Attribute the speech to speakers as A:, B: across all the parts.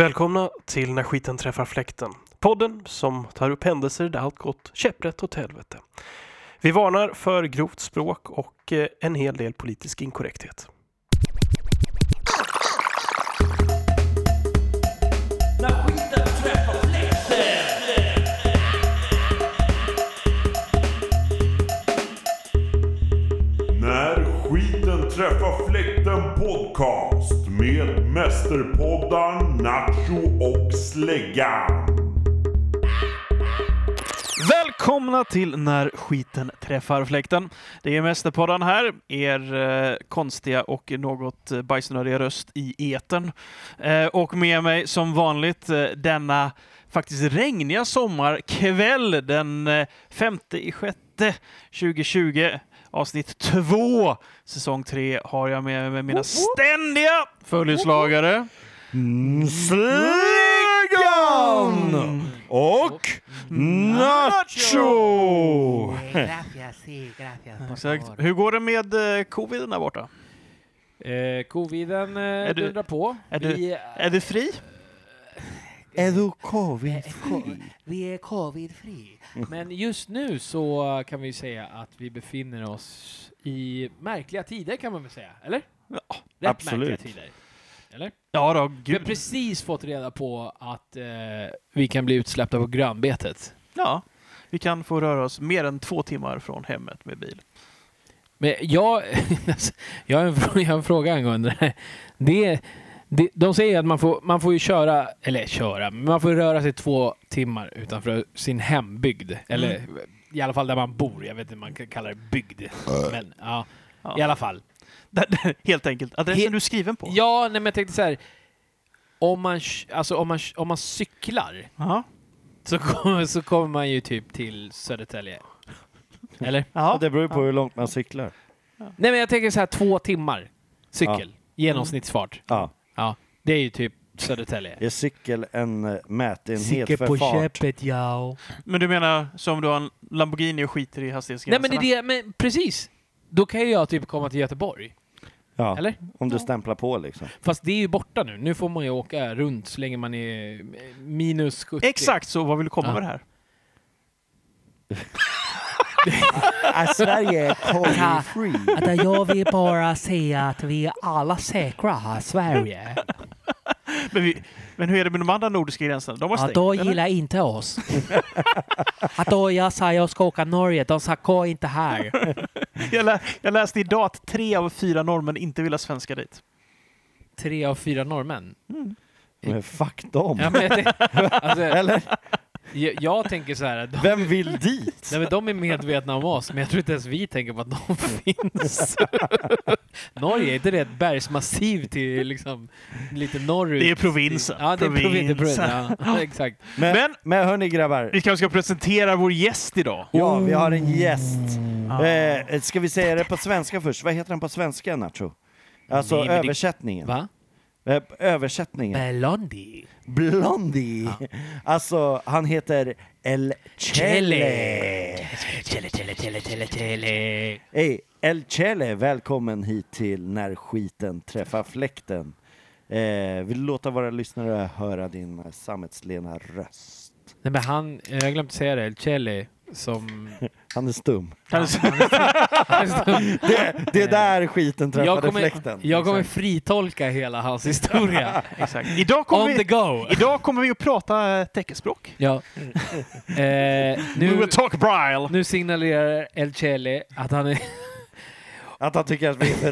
A: Välkomna till När skiten träffar fläkten. Podden som tar upp händelser där allt gått käpprätt åt helvete. Vi varnar för grovt språk och eh, en hel del politisk inkorrekthet.
B: När skiten träffar fläkten podcast med mästerpoddan Nacho och Släggan.
C: Välkomna till När skiten träffar fläkten. Det är Mästerpodden här, er eh, konstiga och något eh, bajsnödiga röst i etern. Eh, och med mig som vanligt eh, denna faktiskt regniga sommarkväll den eh, 5 i sjätte 2020. Avsnitt 2, säsong 3, har jag med mig mina ständiga följeslagare.
D: Släggan och Nacho!
E: Eh, Gracias, sí, gracias. Por
C: Exakt.
E: favor.
C: Hur går det med eh, coviden där borta?
F: Eh, coviden
C: du-
F: eh, dundrar på.
C: är du-
F: Vi, eh,
C: Är du fri?
D: Är du covid?
E: Eh, co- Vi är covid-fri.
F: men just nu så kan vi ju säga att vi befinner oss i märkliga tider kan man väl säga, eller?
C: Ja,
F: Rätt
D: absolut.
F: märkliga tider. Eller?
C: Ja då,
F: Vi har
C: gud.
F: precis fått reda på att eh, vi kan bli utsläppta på grönbetet.
C: Ja, vi kan få röra oss mer än två timmar från hemmet med bil.
F: Men jag, jag, har en, frå- jag har en fråga angående det här. Det, det, de säger att man får, man får ju köra, eller köra, men man får röra sig två timmar utanför sin hembygd. Eller
C: Mm.
F: i alla fall där man bor. Jag vet inte, man kan kalla det bygd. Men ja,
C: Äh. Ja.
F: i alla fall.
C: Där- Helt enkelt. Adressen
F: He-
C: du är skriven på.
F: Ja, nej, men jag tänkte så här. Om man, ch- alltså, om man, ch- om man cyklar
C: Jaha.
F: så kommer, så kommer man ju typ till Södertälje. Eller?
C: Jaha.
D: Det beror ju på hur långt man cyklar.
F: Nej, men jag tänker så här två timmar cykel. Genomsnittsfart.
E: Mm.
D: Ja,
F: Ja, det är ju typ Södertälje.
D: är cykel en eh, mätenhet för fart?
F: ja.
C: Men du menar som du har en Lamborghini och skiter i
F: Nej
C: hastighetsgränserna?
F: men det är det, men precis! Då kan ju jag typ komma till Göteborg.
D: Ja,
F: Eller?
D: om du stämplar på liksom.
F: Fast det är ju borta nu. Nu får man ju åka runt så länge man är eh, minus 70.
C: Exakt så, vad vill du komma
F: Ja.
C: med det här?
D: Sverige är
E: covid-free. Att eh, jag vill bara säga att vi är alla säkra här i Sverige.
C: Men, vi, men hur är det med de andra nordiska gränserna? De har
E: Ja,
C: stängt,
E: de
C: eller?
E: gillar inte oss. Att då jag sa jag ska åka Norge, de sa gå inte här.
C: jag, lä, jag läste idag att tre av fyra norrmän inte vill ha svenskar dit.
F: Tre av fyra norrmän.
D: Men fuck dem!
F: Ja, men jag, tänk- alltså, Eller? Jag, jag tänker så här att de,
D: Vem vill dit?
F: nej, men de är medvetna om oss, men jag tror inte ens vi tänker på att de finns. Norge, är inte det ett bergsmassiv till liksom lite norrut?
C: Det är provinsen.
F: Ja, det är provin, det är provin, ja. Exakt.
D: Men, men,
C: Men-
D: hörni grabbar,
C: Vi kanske ska presentera vår gäst idag.
D: ja, vi har en gäst.
F: Oh.
D: Eh, ska vi säga det på svenska först? Vad heter den på svenska, Nacho? Alltså
F: Nej, men det-
D: översättningen.
F: Va?
D: Eh, översättningen.
E: Belondi.
D: Blondie! Alltså, han heter El Chele.
E: Chile, chile, chile, chile, chile.
D: Hey, El Chele, välkommen hit till När skiten träffar fläkten. Eh, vill du låta våra lyssnare höra din eh, sammetslena röst?
F: Nej men han, eh, jag glömde säga det, Chelly som...
D: Han är stum.
C: Kan du-
D: Det, det är där skiten träffade
F: jag, kommer,
D: fläkten.
F: jag kommer
D: liksom.
F: fritolka hela hans historia.
C: Exakt. Idag kommer,
F: On the
C: vi,
F: go!
C: idag kommer vi att prata eh, teckenspråk.
F: Ja. Eh,
C: We
F: nu,
C: will talk braille.
F: nu signalerar El Chelly att han är...
D: Att han tycker att vi är för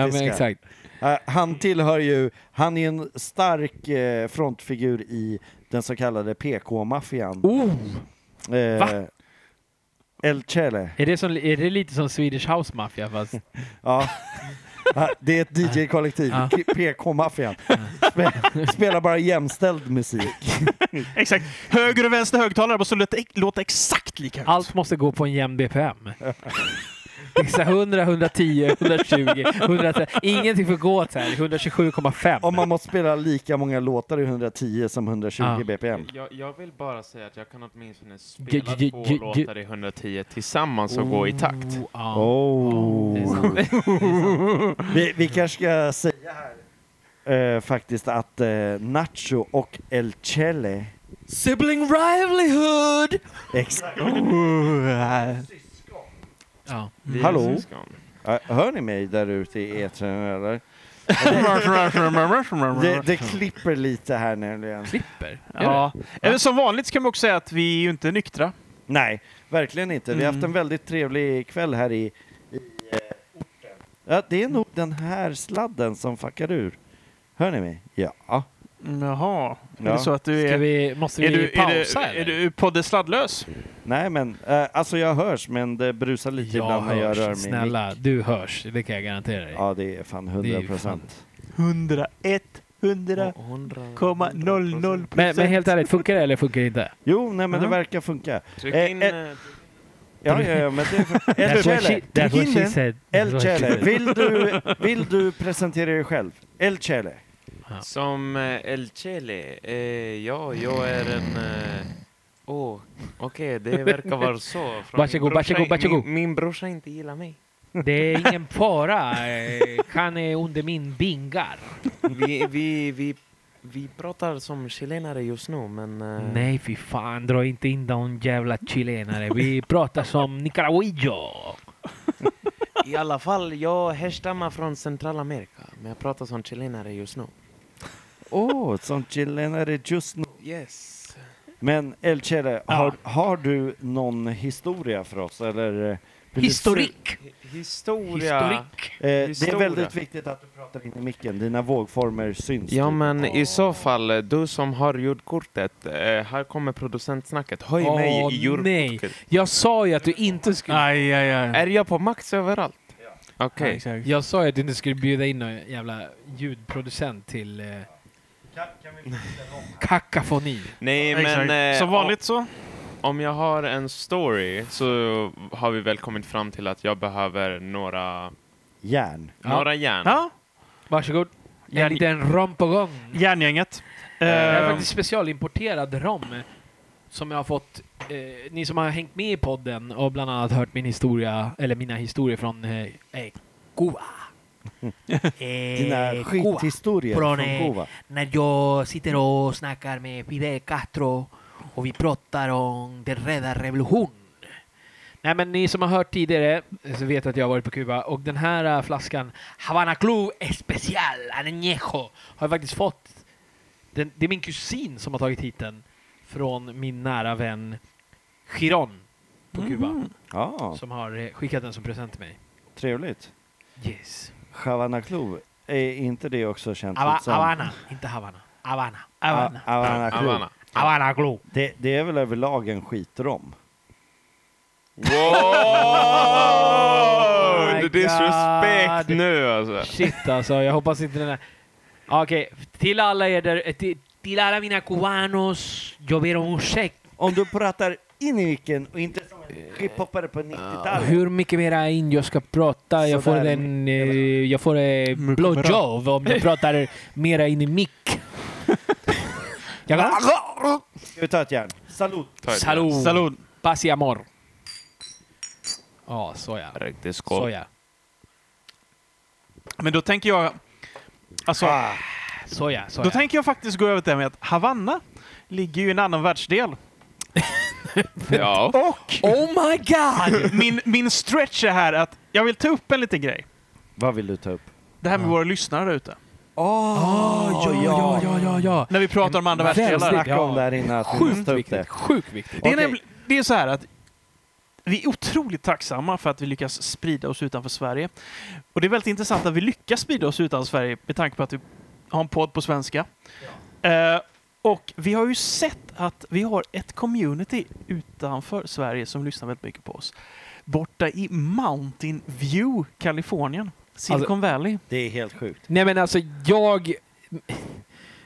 F: ja men exakt.
D: Eh, han tillhör ju, han är en stark eh, frontfigur i den så kallade PK-maffian.
F: Oh!
D: Eh,
C: Va?
D: El Chele.
F: Är det, som, är det lite som Swedish House Mafia fast...
D: Ja. Ja, Det är ett DJ-kollektiv,
F: Ja.
D: K- PK-maffian. Spe- Spelar bara jämställd musik.
C: Exakt. Höger och vänster högtalare måste låta, låta exakt lika högt.
F: Allt måste gå på en jämn BPM. Det är så här 100, 110, 120, 130. Ingenting får gå åt så här 127,5.
D: Om man måste spela lika många låtar i 110 som 120
F: Ja.
D: bpm.
G: Jag, jag vill bara säga att jag kan åtminstone
F: Ju-
G: spela
F: ju-
G: två
F: ju- ju-
G: låtar i 110 tillsammans och gå i takt.
F: Oh, ja.
D: Oh.
F: Det är sant.
D: Vi, vi kanske ska säga här eh, faktiskt att eh, Nacho och El Chele
E: Sibling rivalhood!
D: ex-
F: Ja.
G: Vi är
D: Hallå?
G: syskon.
D: Ja, Hör ni mig där ute i etern eller? Det, det klipper lite här nämligen.
F: Klipper?
C: Ja. Eller som vanligt kan man också säga att vi är ju inte nyktra.
D: Nej, verkligen inte. Vi har haft
C: Mm.
D: en väldigt trevlig kväll här i, i eh, orten. Ja, det är nog den här sladden som fuckar ur. Hör ni mig? Ja.
C: Jaha. Är
D: Ja.
C: det så att du
F: Ska
C: är...
F: vi, måste vi
C: Är du, är,
F: pausa
C: du, är
F: eller?
C: du poddesladdlös?
D: Nej men, eh, alltså jag hörs men det brusar lite
F: Jag
D: ibland när jag rör mig.
F: hörs. Snälla, du hörs. Det kan jag garantera dig.
D: Ja, det är fan
F: Det är
D: 100
F: ju fan-
D: procent.
C: 101, 100,00
F: Men, men helt ärligt, funkar det eller funkar det inte?
D: Jo, nej men det
C: Ja.
D: verkar funka.
G: Tryck
D: Eh,
G: in...
D: eh,
G: eh,
D: Ja, ja, ja, men det är... El
F: That's what
D: Chele,
F: she- that's what she
D: Tryck in den.
F: said. That's
D: El
F: what she
D: Chele,
F: said.
D: vill du, vill du presentera dig själv? El Chele.
G: Som eh, El Chele. Eh, ja, jag är en... eh, Åh, okej, det verkar vara så. Från
F: Varsågod,
G: min
F: varsågod, varsågod.
G: Min, min brorsa inte gillar mig.
F: Det är ingen fara. eh, Han är under min bingar.
G: Vi, vi, vi, vi pratar som chilenare just nu, men... eh,
F: Nej, fy fan. Dra inte in någon jävla chilenare. Vi pratar som nicaraguillo.
G: I alla fall, jag härstammar från Centralamerika, men jag pratar som chilenare just nu.
D: Åh, som chilenare just nu.
G: Yes.
D: Men El Chele, har, har du någon historia för oss? Eller, eh, vill du-
F: Historik.
G: Historia.
F: Historik.
D: Eh, det är
G: Historia.
D: väldigt viktigt att du pratar in i micken. Dina vågformer syns.
G: Ja,
D: typ.
G: men i så fall, du som har ljudkortet, eh, här kommer producentsnacket. Höj
F: Åh,
G: mig i
F: nej.
G: ljudkortet.
F: Jag sa ju att du inte skulle...
C: Aj, aj, aj.
G: Är jag på max överallt? Okej.
C: Exakt.
F: Jag sa ju att du inte skulle bjuda in någon jävla ljudproducent till... Eh, kakafoni.
G: Nej,
C: Exakt.
G: men... eh,
C: Som vanligt så.
G: Om, om jag har en story så har vi väl kommit fram till att jag behöver några,
D: Järn.
F: Ja.
G: några järn.
C: Ja,
F: Varsågod. En
C: Järn-
F: liten rom på gång.
C: järngänget.
F: Eh, Jag har
C: Ehm,
F: faktiskt specialimporterad rom som jag har fått. Eh, ni som har hängt med i podden och bland annat hört min historia, eller mina historier från eh, eh, Cuba.
D: Dina
E: Eh, Cuba.
D: skithistorier
E: Från,
D: från
E: eh,
D: Cuba.
E: När jag sitter och snackar med Fidel Castro och vi pratar om den rädda revolution.
F: Nej men ni som har hört tidigare eh, så vet att jag har varit på Kuba och den här eh, flaskan Havana Club Especial Añejo har jag faktiskt fått. Den, det är min kusin som har tagit hit den från min nära vän Giron på Kuba
D: Ja,
F: som har eh, skickat den som present till mig.
D: trevligt.
F: Yes.
D: Havana Club, är inte det också känt
E: Ava-
D: som...
E: Havana, inte Havana. Havana.
D: Havana.
E: Havana.
D: Havana Club.
G: Havana.
E: Havana Club.
D: Det, det är väl överlag en skitrom?
G: Wow!
F: Oh my
G: Det är disrespect
F: God.
G: nu alltså.
F: Shit alltså, jag hoppas inte den här... Ja, Okej, till alla er där... eh, Till,
E: Till alla mina cubanos, jag ber om ursäkt.
D: Om du pratar in i micken och inte som en hiphoppare på 90-talet.
F: hur mycket mera in jag ska prata? Jag får
D: Sådär,
F: en... eh, Jag får eh,
C: Mycket
F: blowjob om jag pratar mera in i mick. Jag kan...
D: Ska vi ta ett järn? Salut!
G: Ta ett
F: Salud.
C: Salud.
F: Paz y amor. Ja, såja.
G: Riktigt skål.
F: Såja.
C: Men då tänker jag... Alltså,
F: Ah.
D: Ah,
F: Såja.
C: Då
F: Såja.
C: tänker jag faktiskt gå över till det här med att Havanna ligger ju i en annan världsdel.
G: Ja.
F: Oh my god!
C: Min, min stretch är här att jag vill ta upp en liten grej.
D: Vad vill du ta upp?
C: Det här med våra lyssnare där ute.
D: Åh,
F: Ja, ja, ja, ja, ja.
C: När vi pratar om andra
F: Väldigt.
C: världsdelar.
D: Snacka om det här innan att vi måste
F: Sjukt
D: ta upp det.
F: viktigt. Sjukt viktigt.
C: Det är,
D: Okej.
C: nämligen, det är så här att vi är otroligt tacksamma för att vi lyckas sprida oss utanför Sverige. Och det är väldigt intressant att vi lyckas sprida oss utanför Sverige med tanke på att vi har en podd på svenska. Eh, och vi har ju sett att vi har ett community utanför Sverige som lyssnar väldigt mycket på oss. Borta i Mountain View, Kalifornien. Silicon
F: Alltså,
C: Valley.
D: Det är helt sjukt.
F: Nej men alltså jag...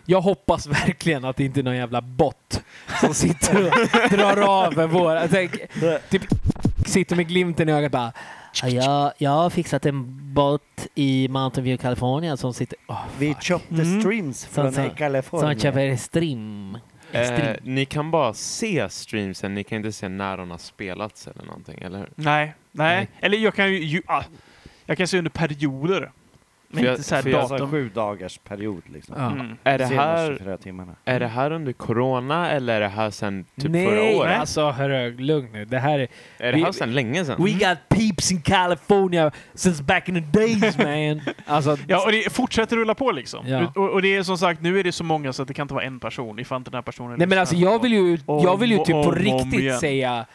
F: Jag hoppas verkligen att det inte är någon jävla bot som sitter och drar av våra... Tänk, typ sitter med glimten i ögat bara... "Ah,
E: Jag, jag har fixat en båt i Mountain View, Kalifornien som sitter... åh,
D: Vi
E: fuck.
D: köpte
C: Mm.
D: streams
E: Som-
D: från
E: som-
D: Kalifornien.
E: Som köper stream.
G: Eh, ni kan bara se streamsen, ni kan inte se när de har spelats eller någonting, eller hur?
C: Nej, nej.
F: Nej.
C: Eller jag kan ju... ju ah, jag kan se under perioder. Men
G: jag-
C: inte så här
G: för jag
D: Alltså
C: datum.
D: sju dagars period liksom.
F: Ja.
C: Mm.
G: Är det,
D: Senaste
G: här,
D: 24 timmarna.
G: är det här under corona eller är det här sen typ
F: Nej,
G: förra året?
F: alltså hörru, lugn nu. Det här är...
G: Är det här
F: vi-
G: sen länge sen?
F: We got peeps in California since back in the days man. Alltså,
C: Ja, och det fortsätter rulla på liksom.
F: Ja.
C: Och, och det är som sagt, nu är det så många så att det kan inte vara en person ifall inte den här personen
F: nej men
C: lyssnar.
F: alltså jag vill ju, jag vill ju
C: Om
F: typ
C: och
F: på
C: om igen.
F: riktigt säga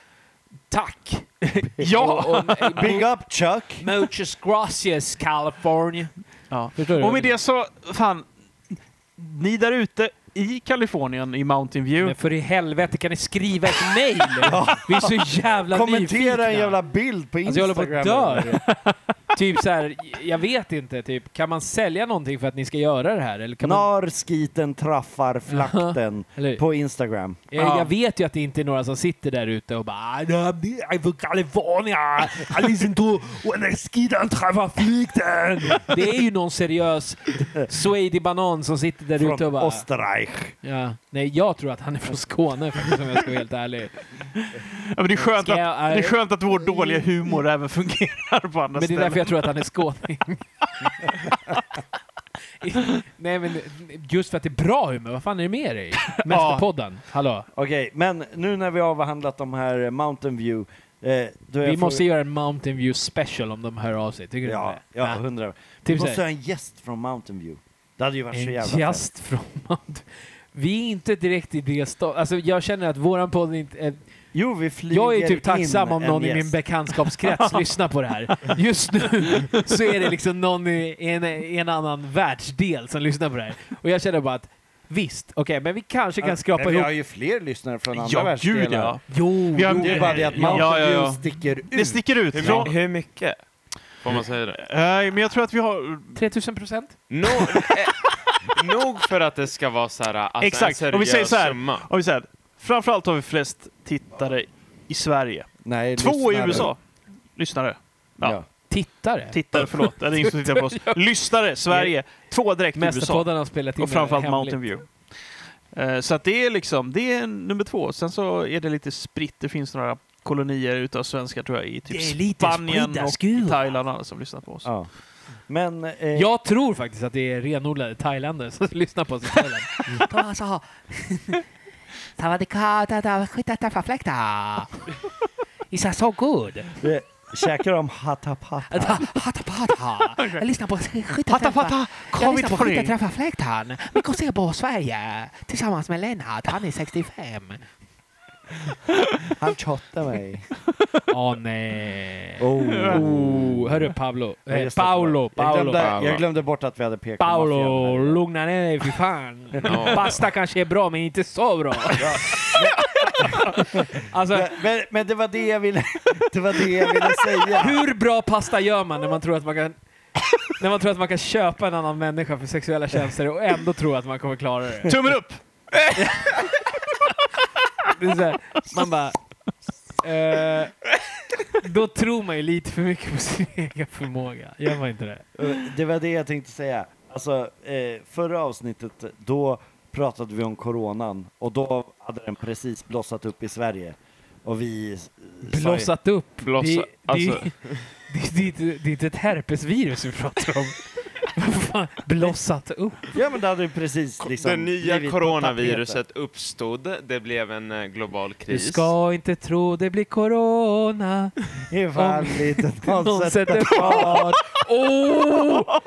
F: tack.
C: Ja!
F: Och, och,
D: Big up Chuck!
F: Muchas gracias California.
C: Ja.
F: Förstår du?
C: Och med det så, fan. Ni där ute i Kalifornien, i Mountain View.
F: Men för i helvete kan ni skriva ett mejl? Vi är så jävla nyfikna.
D: Kommentera en jävla bild på
F: Alltså jag
D: Instagram!
F: håller på att dö. typ så här, jag vet inte, typ, kan man sälja någonting för att ni ska göra det här? Eller kan man,
D: När skiten traffar flakten
F: eller,
D: på Instagram.
F: jag, jag vet ju att det inte är några som sitter där ute och bara "Ah, I'm from California, I listen to when skiten träffar flykten. Det är ju någon seriös Swedish banan som sitter där ute och
D: Från
F: bara...
D: Österreich.
F: Ja. Nej, jag tror att han är från Skåne faktiskt om jag ska vara helt ärlig.
C: Ja, men det, är skönt
F: Ska
C: att,
F: jag- Mm.
C: det är skönt att vår dåliga humor även fungerar på andra
F: Men det är
C: ställen.
F: därför jag tror att han är skåning. Nej men just för att det är bra humör, vad fan är det med dig? Mästerpodden, hallå?
D: Okej, men nu när vi har avhandlat de här eh, Mountain View. Eh, då är
F: Vi
D: jag
F: måste
D: fråga-
F: göra en Mountain View special om de hör av sig, tycker du
D: Ja,
F: inte det?
D: ja, hundra. Vi
F: Typ
D: måste
F: såhär,
D: ha en gäst från Mountain View. Det hade ju varit så
F: en
D: jävla fett.
F: just från Mountain Vi är inte direkt i det stadiet. Alltså jag känner att våran podd inte... eh,
D: Jo, vi flyger
F: Jag är typ tacksam
D: in
F: om
D: en
F: någon i min
D: gäst.
F: bekantskapskrets lyssnar på det här. Just nu så är det liksom någon i en, i en annan världsdel som lyssnar på det här. Och jag känner bara att visst, okej, men vi kanske kan skrapa
D: Men vi
F: ihop...
D: har ju fler lyssnare från andra
C: Ja,
D: världsdelar.
C: gud ja.
F: Jo,
C: Vi har-
D: Jo, det är bara det att Mountain
C: Ja, ja, ja.
D: View sticker ut.
C: Det sticker ut.
G: Hur,
C: Från,
G: my- hur mycket? Får man säga det?
C: Nej, men jag tror att vi har...
F: 3000 procent?
G: Nog, eh, nog för att det ska vara så här, alltså
C: Exakt.
G: en
C: Om vi säger
G: seriös
C: så här.
G: summa.
C: Om vi säger, framförallt har vi flest tittare i Sverige.
D: Nej,
C: Två i
D: lyssnare.
C: USA. Lyssnare. Ja.
D: Ja.
F: Tittare?
C: Tittare, förlåt. Det är ingen som tittar på oss. Lyssnare, Sverige. Två direkt i USA.
F: Mästerpodden har spelat in
C: Och framförallt
F: hemligt.
C: Mountain View. Eh, Så att det är liksom, det är nummer två. Sen så är det lite spritt. Det finns några kolonier utav svenskar tror jag i
E: Det är
C: typ
E: lite
C: Spanien
E: spridda
C: och i
E: skurar.
C: Thailand och alla som lyssnar på oss.
D: Ja. Men... Eh,
F: Jag tror faktiskt att det är renodlade thailändare som lyssnar på oss i Thailand.
E: Thomas sa... Savadika, da, da, skita, da, förfläkta. It's so good.
D: eh, Käkar de hatapata?
E: Hatapata. Jag lyssnar på skita,
C: Hatapata,
E: Jag lyssnar på
C: covid-free.
E: skita, träffa fläktan. Vi går se på Sverige tillsammans med Lennart. Han är 65.
D: Han tjottar mig.
F: Åh nej.
D: Oh.
F: Oh, hörru Pablo.
D: Ja,
F: Eh,
D: just det,
F: Paolo,
D: Jag
F: Paolo.
D: glömde, jag glömde bort att vi hade PK
F: Paolo,
D: maffian här.
F: lugna ner dig för fan.
G: Ja.
F: Pasta kanske är bra, men inte så bra. alltså,
D: Men, men det var det jag ville, det var det jag ville säga.
F: hur bra pasta gör man när man tror att man kan när man tror att man kan köpa en annan människa för sexuella tjänster och ändå tro att man kommer klara det.
C: Tummen upp!
F: det är så här, man bara... Eh, då tror man ju lite för mycket på sin egen förmåga. Gör man inte det?
D: Eh, Det var det jag tänkte säga. Alltså, eh, förra avsnittet, då pratade vi om coronan och då hade den precis blossat upp i Sverige. Och vi... eh, sa ju-
F: Blossat upp.
G: Blossa-
F: det, det,
G: alltså-
F: det, det, är inte- det är inte ett herpesvirus vi pratar om. Vad fan, Blossat upp.
D: Ja men det hade ju precis liksom...
G: det nya
D: blivit på
G: coronaviruset uppstod, det blev en eh, global
F: Du
G: kris.
F: ska inte tro det blir corona.
D: tapeten. Ifall inte någon
F: Någon
D: sätter
F: sätter fart. Oh!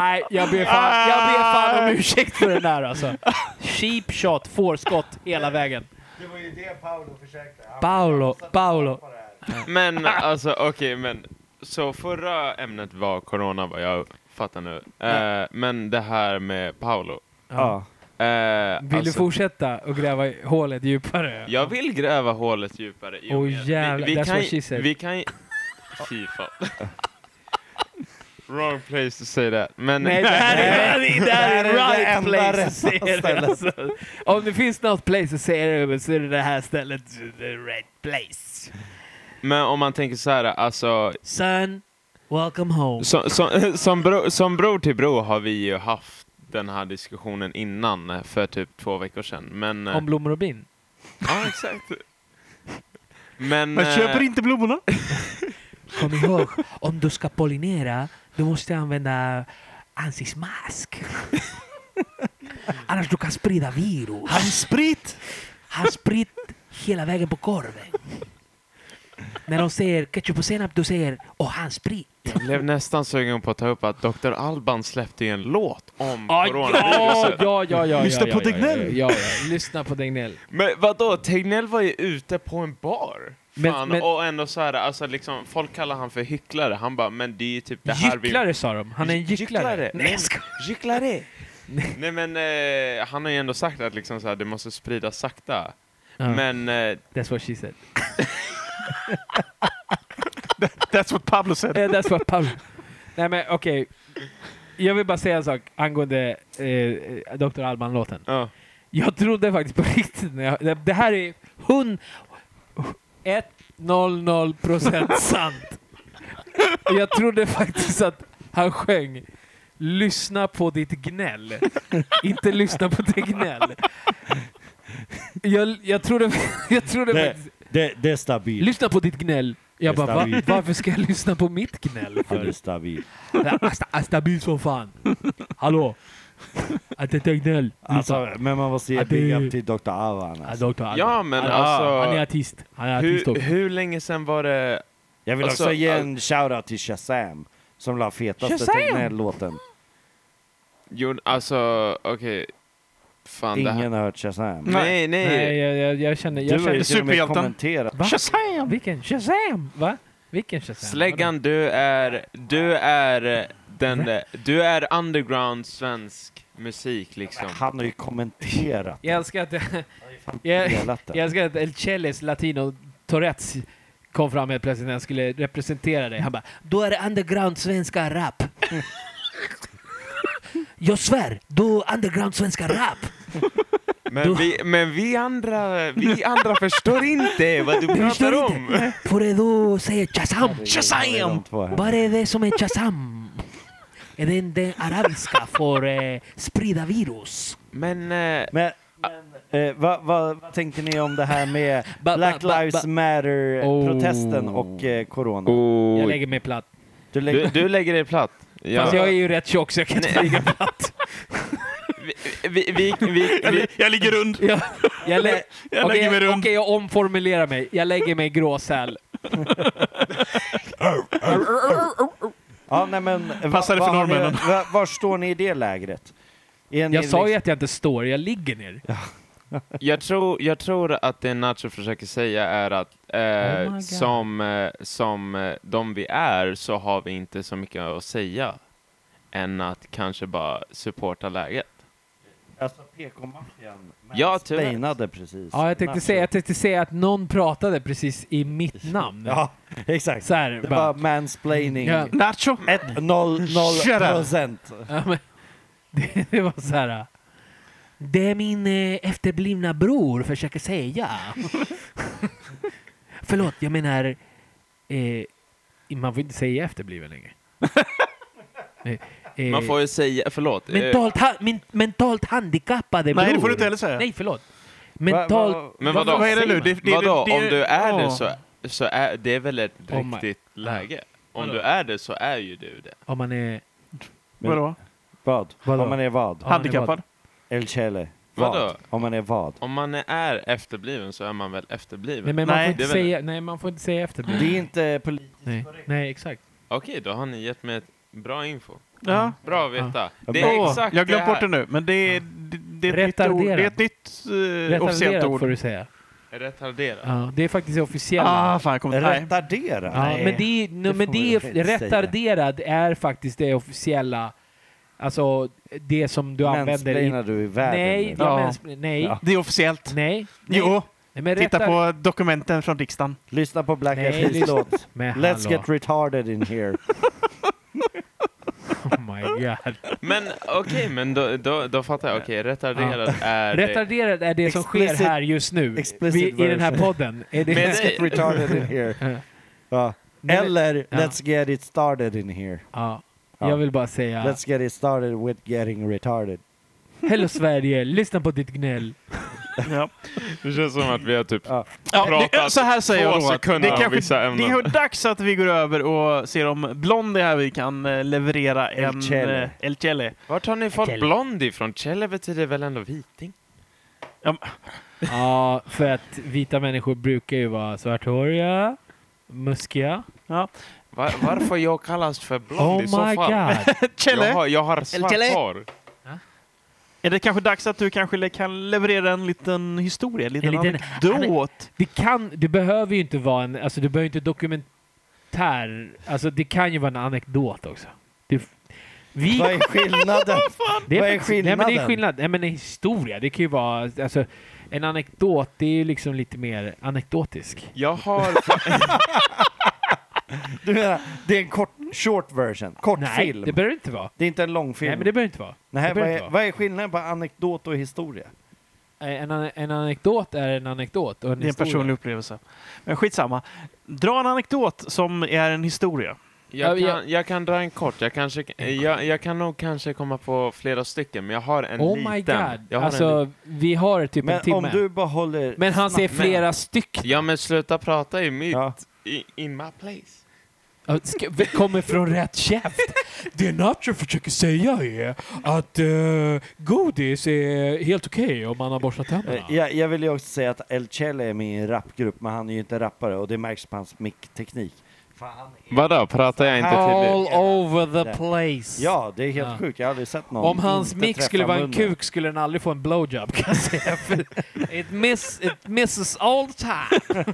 F: Nej, jag ber, fan, jag ber fan om ursäkt för den där alltså. Cheap shot, fårskott hela vägen.
D: Det var ju det Paolo försökte.
F: Paolo, Paolo.
G: Men alltså okej, men så förra ämnet var corona vad jag fattar nu. Eh, men det här med Paolo.
D: Ja.
G: Eh,
F: Vill du
G: alltså,
F: fortsätta och gräva i hålet djupare?
G: Jag vill gräva hålet djupare. i och
F: Åh,
G: med-
F: jävlar,
G: vi, vi
F: that's
G: kan,
F: what she said.
G: Vi kan Fy fan. Wrong place to say that. Men
F: Nej, det här är, det här
D: Det här är det
F: är right
D: enda
F: place
D: rätta
F: att säga det.
D: stället.
F: Alltså. Om det finns något place att säga det så är det det här stället. The
E: eh,
F: right place.
G: Men om man tänker så här, alltså,
E: Son, welcome home.
G: som, som, som, bro, som bror till bror har vi ju haft den här diskussionen innan, eh, för typ två veckor sedan. Men, eh,
F: Om blommor och bin.
G: ja, exakt. eh, Men,
C: Man
G: eh,
C: Eh, köper inte blommorna.
E: Kom ihåg, om du ska pollinera, Du måste använda ansiktsmask. Annars du kan sprida virus.
C: Handsprit!
E: Han spritt hela vägen på korven. När de säger ketchup och senap, du säger och han spritt.
G: Jag blev nästan sugen på att ta upp att Dr. Alban släppte ju en låt om
F: Ah, ja,
G: coronaviruset.
F: ja, ja, ja,
C: Lyssna
F: ja,
C: på
F: ja, ja,
C: Tegnell.
F: Ja, ja, ja. Lyssna på Tegnell.
G: Men vadå, Tegnell var ju ute på en bar.
F: Men-
G: Fan,
F: men-
G: och ändå så här, alltså liksom, folk kallar han för hycklare. Han bara, men det är ju typ det här vi...
F: Gycklare sa de. Han är en gycklare.
G: Nej, Gycklare! Nej men, eh, han har ju ändå sagt att liksom så här, det måste spridas sakta.
F: Ja.
G: Men eh,
F: That's what she said.
C: That's what Pablo said.
F: Eh, That's what Paul... Nej men okej. Jag vill bara säga en sak angående eh, Dr. Alban-låten.
G: Ja.
F: Jag trodde faktiskt på riktigt när jag, det- Det här är hund... 100 procent sant. Och Jag trodde faktiskt att han sjöng Lyssna på ditt gnäll. Inte lyssna på Tegnell. Jag, jag trodde, jag trodde
D: Det,
F: faktiskt...
D: det, det är stabilt.
F: Lyssna på ditt gnäll. Jag
D: Det är
F: bara, va,
D: stabilt.
F: varför ska jag lyssna på mitt gnäll?
D: Ja, det är
F: För?
D: stabilt.
F: Asta- Astabil som fan. Hallå? Att det är Tegnell. Lyssna.
D: Alltså, men man måste ge
F: Ja, det-
D: big up till Dr. Avan.
F: Ja,
D: Alltså.
F: doktor Alban.
G: Ja, men
F: han,
G: alltså-
F: Han är artist. Han är artist
G: hur,
F: också.
G: hur länge sedan var det...
D: Jag vill
G: Alltså,
D: också ge en shoutout till Shazam som la fetaste
F: Shazam!
D: Tegnell-låten.
G: Jo, alltså, okej. Fan det här...
D: Ingen har hört Shazam.
G: Nej, nej.
F: Nej, jag, jag, jag känner... Jag
D: Du har
F: känner
D: ju till och med
C: Superhjälten.
D: kommenterat.
F: va? Shazam! Vilken Shazam? Va? Vilken Shazam?
G: Släggan, du är... Du är den... Du är underground svensk musik liksom.
D: Han har ju kommenterat.
F: Jag älskar att, jag,
D: hela
F: jag
D: den.
F: älskar att El Chelis Latino Tourettes kom fram helt plötsligt när han skulle representera dig. Han bara
E: Då är det underground svenska rap. Jag svär, då är underground svenska rap.
G: Men vi, men vi andra, vi andra förstår inte vad du
E: förstår
G: pratar
E: inte.
G: om.
E: För du säger Shazam.
D: Det är de två här.
E: Vad är det som är Shazam? Är det den arabiska för eh, sprida virus?
G: Men, eh,
D: Men, men eh, vad, vad, vad tänkte ni om det här med
E: ba,
D: Black
E: ba, ba.
D: Lives Matter-protesten
F: Oh.
D: och eh, corona?
F: jag lägger mig platt.
D: Du lägger,
G: du, du lägger dig platt. Ja.
F: Fast jag är ju rätt tjock så jag kan inte ligga platt.
G: Vi, vi, vi, vi, vi,
C: Jag ligger rund.
F: Jag, jag, lä-
C: Jag
F: Okej,
C: lägger mig
F: Okej,
C: rund.
F: jag omformulerar mig. Jag lägger mig i gråsäl.
D: ja, nej, men, eh,
C: Passar det
D: vad
C: för
D: har ni-
C: norrmännen?
D: va- Var står ni i det lägret? Är ni
F: Jag sa ju
D: liksom-
F: att jag inte står, jag ligger ner.
G: Jag tror, jag tror att det Nacho försöker säga är att
F: Oh my
G: eh,
F: God.
G: som, eh, som eh, de vi är så har vi inte så mycket att säga än att kanske bara supporta läget.
D: Alltså PK-maffian
G: Ja, tyvärr.
D: spanade precis.
F: Ja, jag tänkte,
D: Nacho.
F: säga, jag tänkte säga att någon pratade precis i mitt namn.
D: Ja, exakt.
F: Så här,
D: det
F: bara,
D: var mansplaining.
F: Ja.
C: Nacho.
D: 1-0-0 procent.
F: ja, men, det, det var så här.
E: Det är min eh, efterblivna bror försöker säga. Förlåt, jag menar... Eh,
F: Man får inte säga efterbliven längre. Eh, eh,
G: Man får ju säga, förlåt. eh,
E: mentalt, ha, min, mentalt handikappade bror.
C: Nej, det får du inte heller säga.
E: Nej, förlåt. Mentalt...
D: Va- va-
G: men
C: Vad-
G: vadå,
C: vad är det nu?
G: Simon?
C: Det- det-
G: vadå?
C: det-
G: om du är det
C: ja.
G: så, så är det är väl ett
F: Oh my-
G: riktigt läge? Om du är det så är ju du det.
F: Om man är...
C: Vadå?
D: Vad?
F: Vadå?
D: Om man är vad?
F: Ja.
C: Handikappad?
D: El Chele.
G: Vadå?
D: Vad? Om man är vad?
G: Om man är efterbliven så är man väl efterbliven?
F: Nej, men man,
C: Nej,
F: får, inte
G: det är väl-
F: säga, nej, man får inte säga
D: Det
F: efterbliven.
D: är inte politiskt
F: Nej, nej exakt.
G: Okej, då har ni gett mig ett bra info.
C: Ja.
G: Bra att veta.
D: Ja.
G: Det är
C: Åh,
G: exakt
C: jag har glömt
G: det
C: bort
G: här.
C: det nu, men det är, det, det är ett nytt
F: Retarderad.
C: ord. Det är ett nytt eh, officiellt
F: Retarderat får
C: ord.
F: du säga.
G: Retarderad.
F: Ja, det är faktiskt officiellt.
C: Ah, fan, jag kommer Nej.
D: Retardera?
F: Ja, men det, är- no,
D: får
F: men
D: vi
F: det är,
D: väl inte säga.
F: retarderad är faktiskt det officiella, alltså det som du använder i...
D: Mansplainar du i världen
F: Nej,
D: nu?
F: ja.
C: Ja.
F: mens- nej,
D: Ja.
C: Det är officiellt.
F: nej, nej.
C: Jo,
F: Nej, men
C: titta
F: retar-
C: på dokumenten från riksdagen.
D: Lyssna på Black
F: Nej,
D: Eyed Peas
F: lyssna-
D: låt.
F: Men
D: Let's
F: hallå.
D: get retarded in here.
F: Oh my god.
G: Men okej, men då, då, då fattar jag. Okej, retarderad är det.
F: Retarderad är det som sker
D: Explicit-
F: här just nu,
D: explicit
F: vi, i den här
D: version.
F: podden. Är det,
G: Men-
D: Let's get retarded in here. Ja.
F: Nej, men-
D: Eller
F: ja.
D: Let's get it started in here.
F: ja,
D: Ja.
F: jag vill bara säga,
D: Let's get it started with getting retarded.
F: Hello Sverige, lyssna på ditt gnäll.
C: Ja.
G: Det känns som att vi har typ
D: Ja.
C: Ja, det, eh,
G: pratat
C: så här säger jag
G: två
C: då att det
G: sekunder om
C: kanske,
G: vissa ämnen.
C: det är dags att vi går över och ser om Blondie här vi kan eh, leverera
D: El
C: en...
D: Chele.
C: eh, El Chele.
G: Vart har ni fått
F: Kjell.
G: blond ifrån? Kjell betyder väl ändå viting?
F: Ja, för att vita människor brukar ju vara svarthåriga, muskiga.
G: Va- varför jag kallas för blond
F: Oh
G: i så
F: my
G: fall?
F: god!
G: Jag
C: Chele,
G: har, jag har svart
E: Kjell.
G: hår.
C: är det kanske dags att du kanske le- kan leverera en liten historia, en liten,
F: En liten-
C: anekdot?
F: Det kan, det behöver ju inte vara en, alltså det behöver inte dokumentär, alltså det kan ju vara en anekdot också. Det, vi,
D: Vad är skillnaden?
F: det
D: vad är
F: faktiskt- Nej men det är
D: skillnaden?
F: skillnad, nej men en historia, det kan ju vara, alltså en anekdot, det är ju liksom lite mer anekdotisk.
G: Jag har...
D: Du menar, det är en kort, short version,
F: Nej,
D: kortfilm.
F: det
D: Det,
F: behöver det inte vara.
D: är inte en långfilm.
F: Nej men det behöver inte vara.
D: Nej,
F: det
D: vad,
F: behöver inte
D: är,
F: vara.
D: vad är skillnaden på anekdot och historia?
F: Eh, En, an- en anekdot är en anekdot och en
C: Det är en
F: historia.
C: personlig upplevelse. Men skitsamma. Dra en anekdot som är en historia.
G: Jag
F: Ja,
G: kan, jag kan dra en kort. Jag, kanske, jag, jag kan nog kanske komma på flera stycken, men jag har en
F: Oh
G: liten.
F: my
G: Jag
F: god.
G: har en
F: Alltså, vi har typ en
D: Men
F: timme.
D: om du bara håller...
F: Men han ser
D: snabb-
F: flera stycken.
G: Ja men sluta prata i mitt,
D: Ja.
G: i, in my place.
F: Ja, ska- vi Kommer från rätt käft.
H: Det Nacho försöker säga är att eh, godis är helt okej om man har borstat tänderna.
D: Eh, Jag, jag vill ju också säga att El Chele är med i en rapgrupp, men han är ju inte rappare och det märks på hans mickteknik.
G: Vadå, pratar jag inte till
F: All
G: dig?
F: over the place.
D: Ja, det är helt
F: Ja.
D: sjukt. Jag har aldrig sett någon
F: Om hans
D: inte
F: mick
D: träffa
F: skulle vara en
D: munnen.
F: kuk skulle den aldrig få en blowjob kan jag säga. För it, miss, it misses all the time.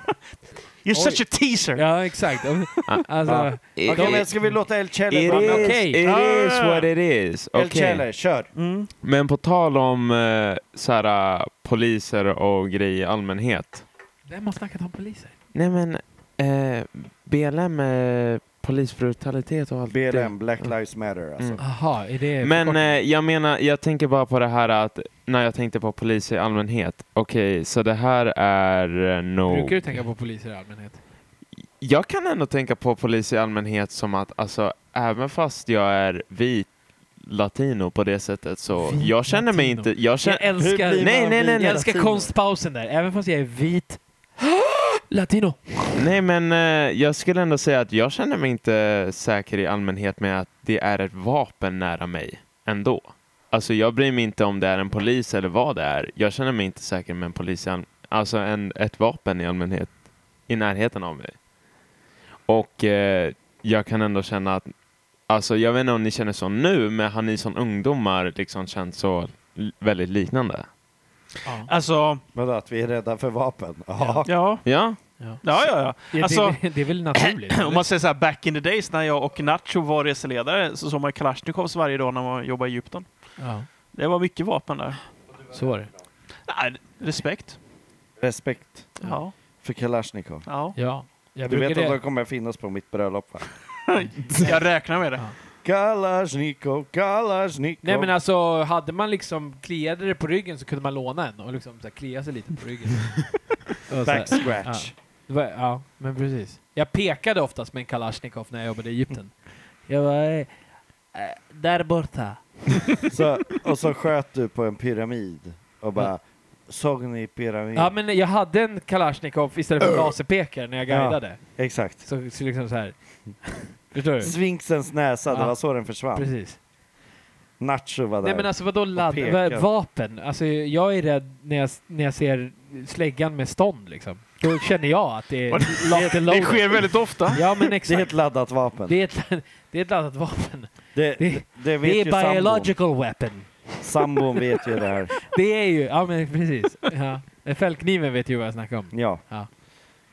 C: You're such a teaser!
F: Ja, exakt. Alltså,
D: Okej, men ska vi låta El Chele
G: It
D: vara
G: is,
D: med?
F: Okej.
G: it is
C: Ah.
G: what it is.
D: El
G: Okej.
D: Chele, kör!
C: Mm.
G: Men på tal om eh, såhär, eh, poliser och grejer i allmänhet.
F: Vem har snackat om poliser?
G: Nej men, BLM, polisbrutalitet och allt
D: BLM, Black Lives Matter alltså.
G: Mm.
F: Aha, är det
G: Men eh, jag menar, jag tänker bara på det här att när jag tänkte på poliser i allmänhet. Okej, så det här är eh, nog...
F: Brukar du tänka på poliser i allmänhet?
G: Jag kan ändå tänka på polis i allmänhet som att alltså, även fast jag är vit latino på det sättet så
F: Vit
G: jag känner mig
F: latino.
G: inte... Jag
F: Jag
G: känner,
F: älskar,
G: nej, nej, nej, nej,
F: jag älskar konstpausen där, även fast jag är vit. Latino.
G: nej, men eh, jag skulle ändå säga att jag känner mig inte säker i allmänhet med att det är ett vapen nära mig ändå. Alltså jag bryr mig inte om det är en polis eller vad det är. Jag känner mig inte säker med en polis, i all- alltså en, ett vapen i allmänhet i närheten av mig. Och eh, jag kan ändå känna att, alltså jag vet inte om ni känner så nu, men har ni som ungdomar liksom känt så l- väldigt liknande?
C: Alltså,
D: Vadå, att vi är rädda för vapen? Ja.
C: ja.
G: Ja,
C: Ja, ja, ja. Alltså,
F: det, är, det är väl naturligt?
C: Om man säger så här, back in the days när jag och Nacho var reseledare så såg man Kalashnikovs varje dag när man jobbade i Egypten.
F: ja,
C: Det var mycket vapen där.
F: så var det.
C: Nej, respekt.
D: Respekt
C: Ja.
D: för Kalashnikov.
C: ja.
F: Ja, jag
D: Du
F: brukar
D: vet att de
F: det.
D: kommer finnas på mitt bröllop va?
C: Jag räknar med det.
D: Kalashnikov, Kalashnikov.
F: Nej men alltså, hade man liksom kliade det på ryggen så kunde man låna en och liksom så här, klia sig lite på ryggen. Och så här,
D: Back scratch.
F: det var- ja, men precis. Jag pekade oftast med en Kalashnikov när jag jobbade i Egypten. Jag var eh, där borta.
D: Så, och så sköt du på en pyramid och bara, såg ni pyramiden?
F: Ja men jag hade en Kalashnikov istället för en laserpekare när jag
D: Ja.
F: guidade.
D: Exakt.
F: Så, så liksom så här. Förstår du?
D: Sfinxens näsa, det
F: Ja.
D: var så den försvann.
F: Precis.
D: Nacho var där.
F: Nej men alltså vadå ladd,
D: pekar.
F: va- vapen? Alltså jag är rädd när jag, när jag ser släggan med stånd liksom. Då känner jag att det är locked and
C: Det
F: loaded.
C: sker väldigt ofta.
F: Ja men
D: det är
F: exakt.
D: ett laddat vapen. Det,
F: Det är ett, det är ett laddat vapen.
D: det,
F: det-
D: vet
F: Det
D: ju
F: är
D: sambon.
F: biological weapon.
D: Sambon vet ju det här.
F: Det är ju, ja men precis. Ja. Fällkniven vet ju vad jag snackar om.
D: Ja.
F: Ja.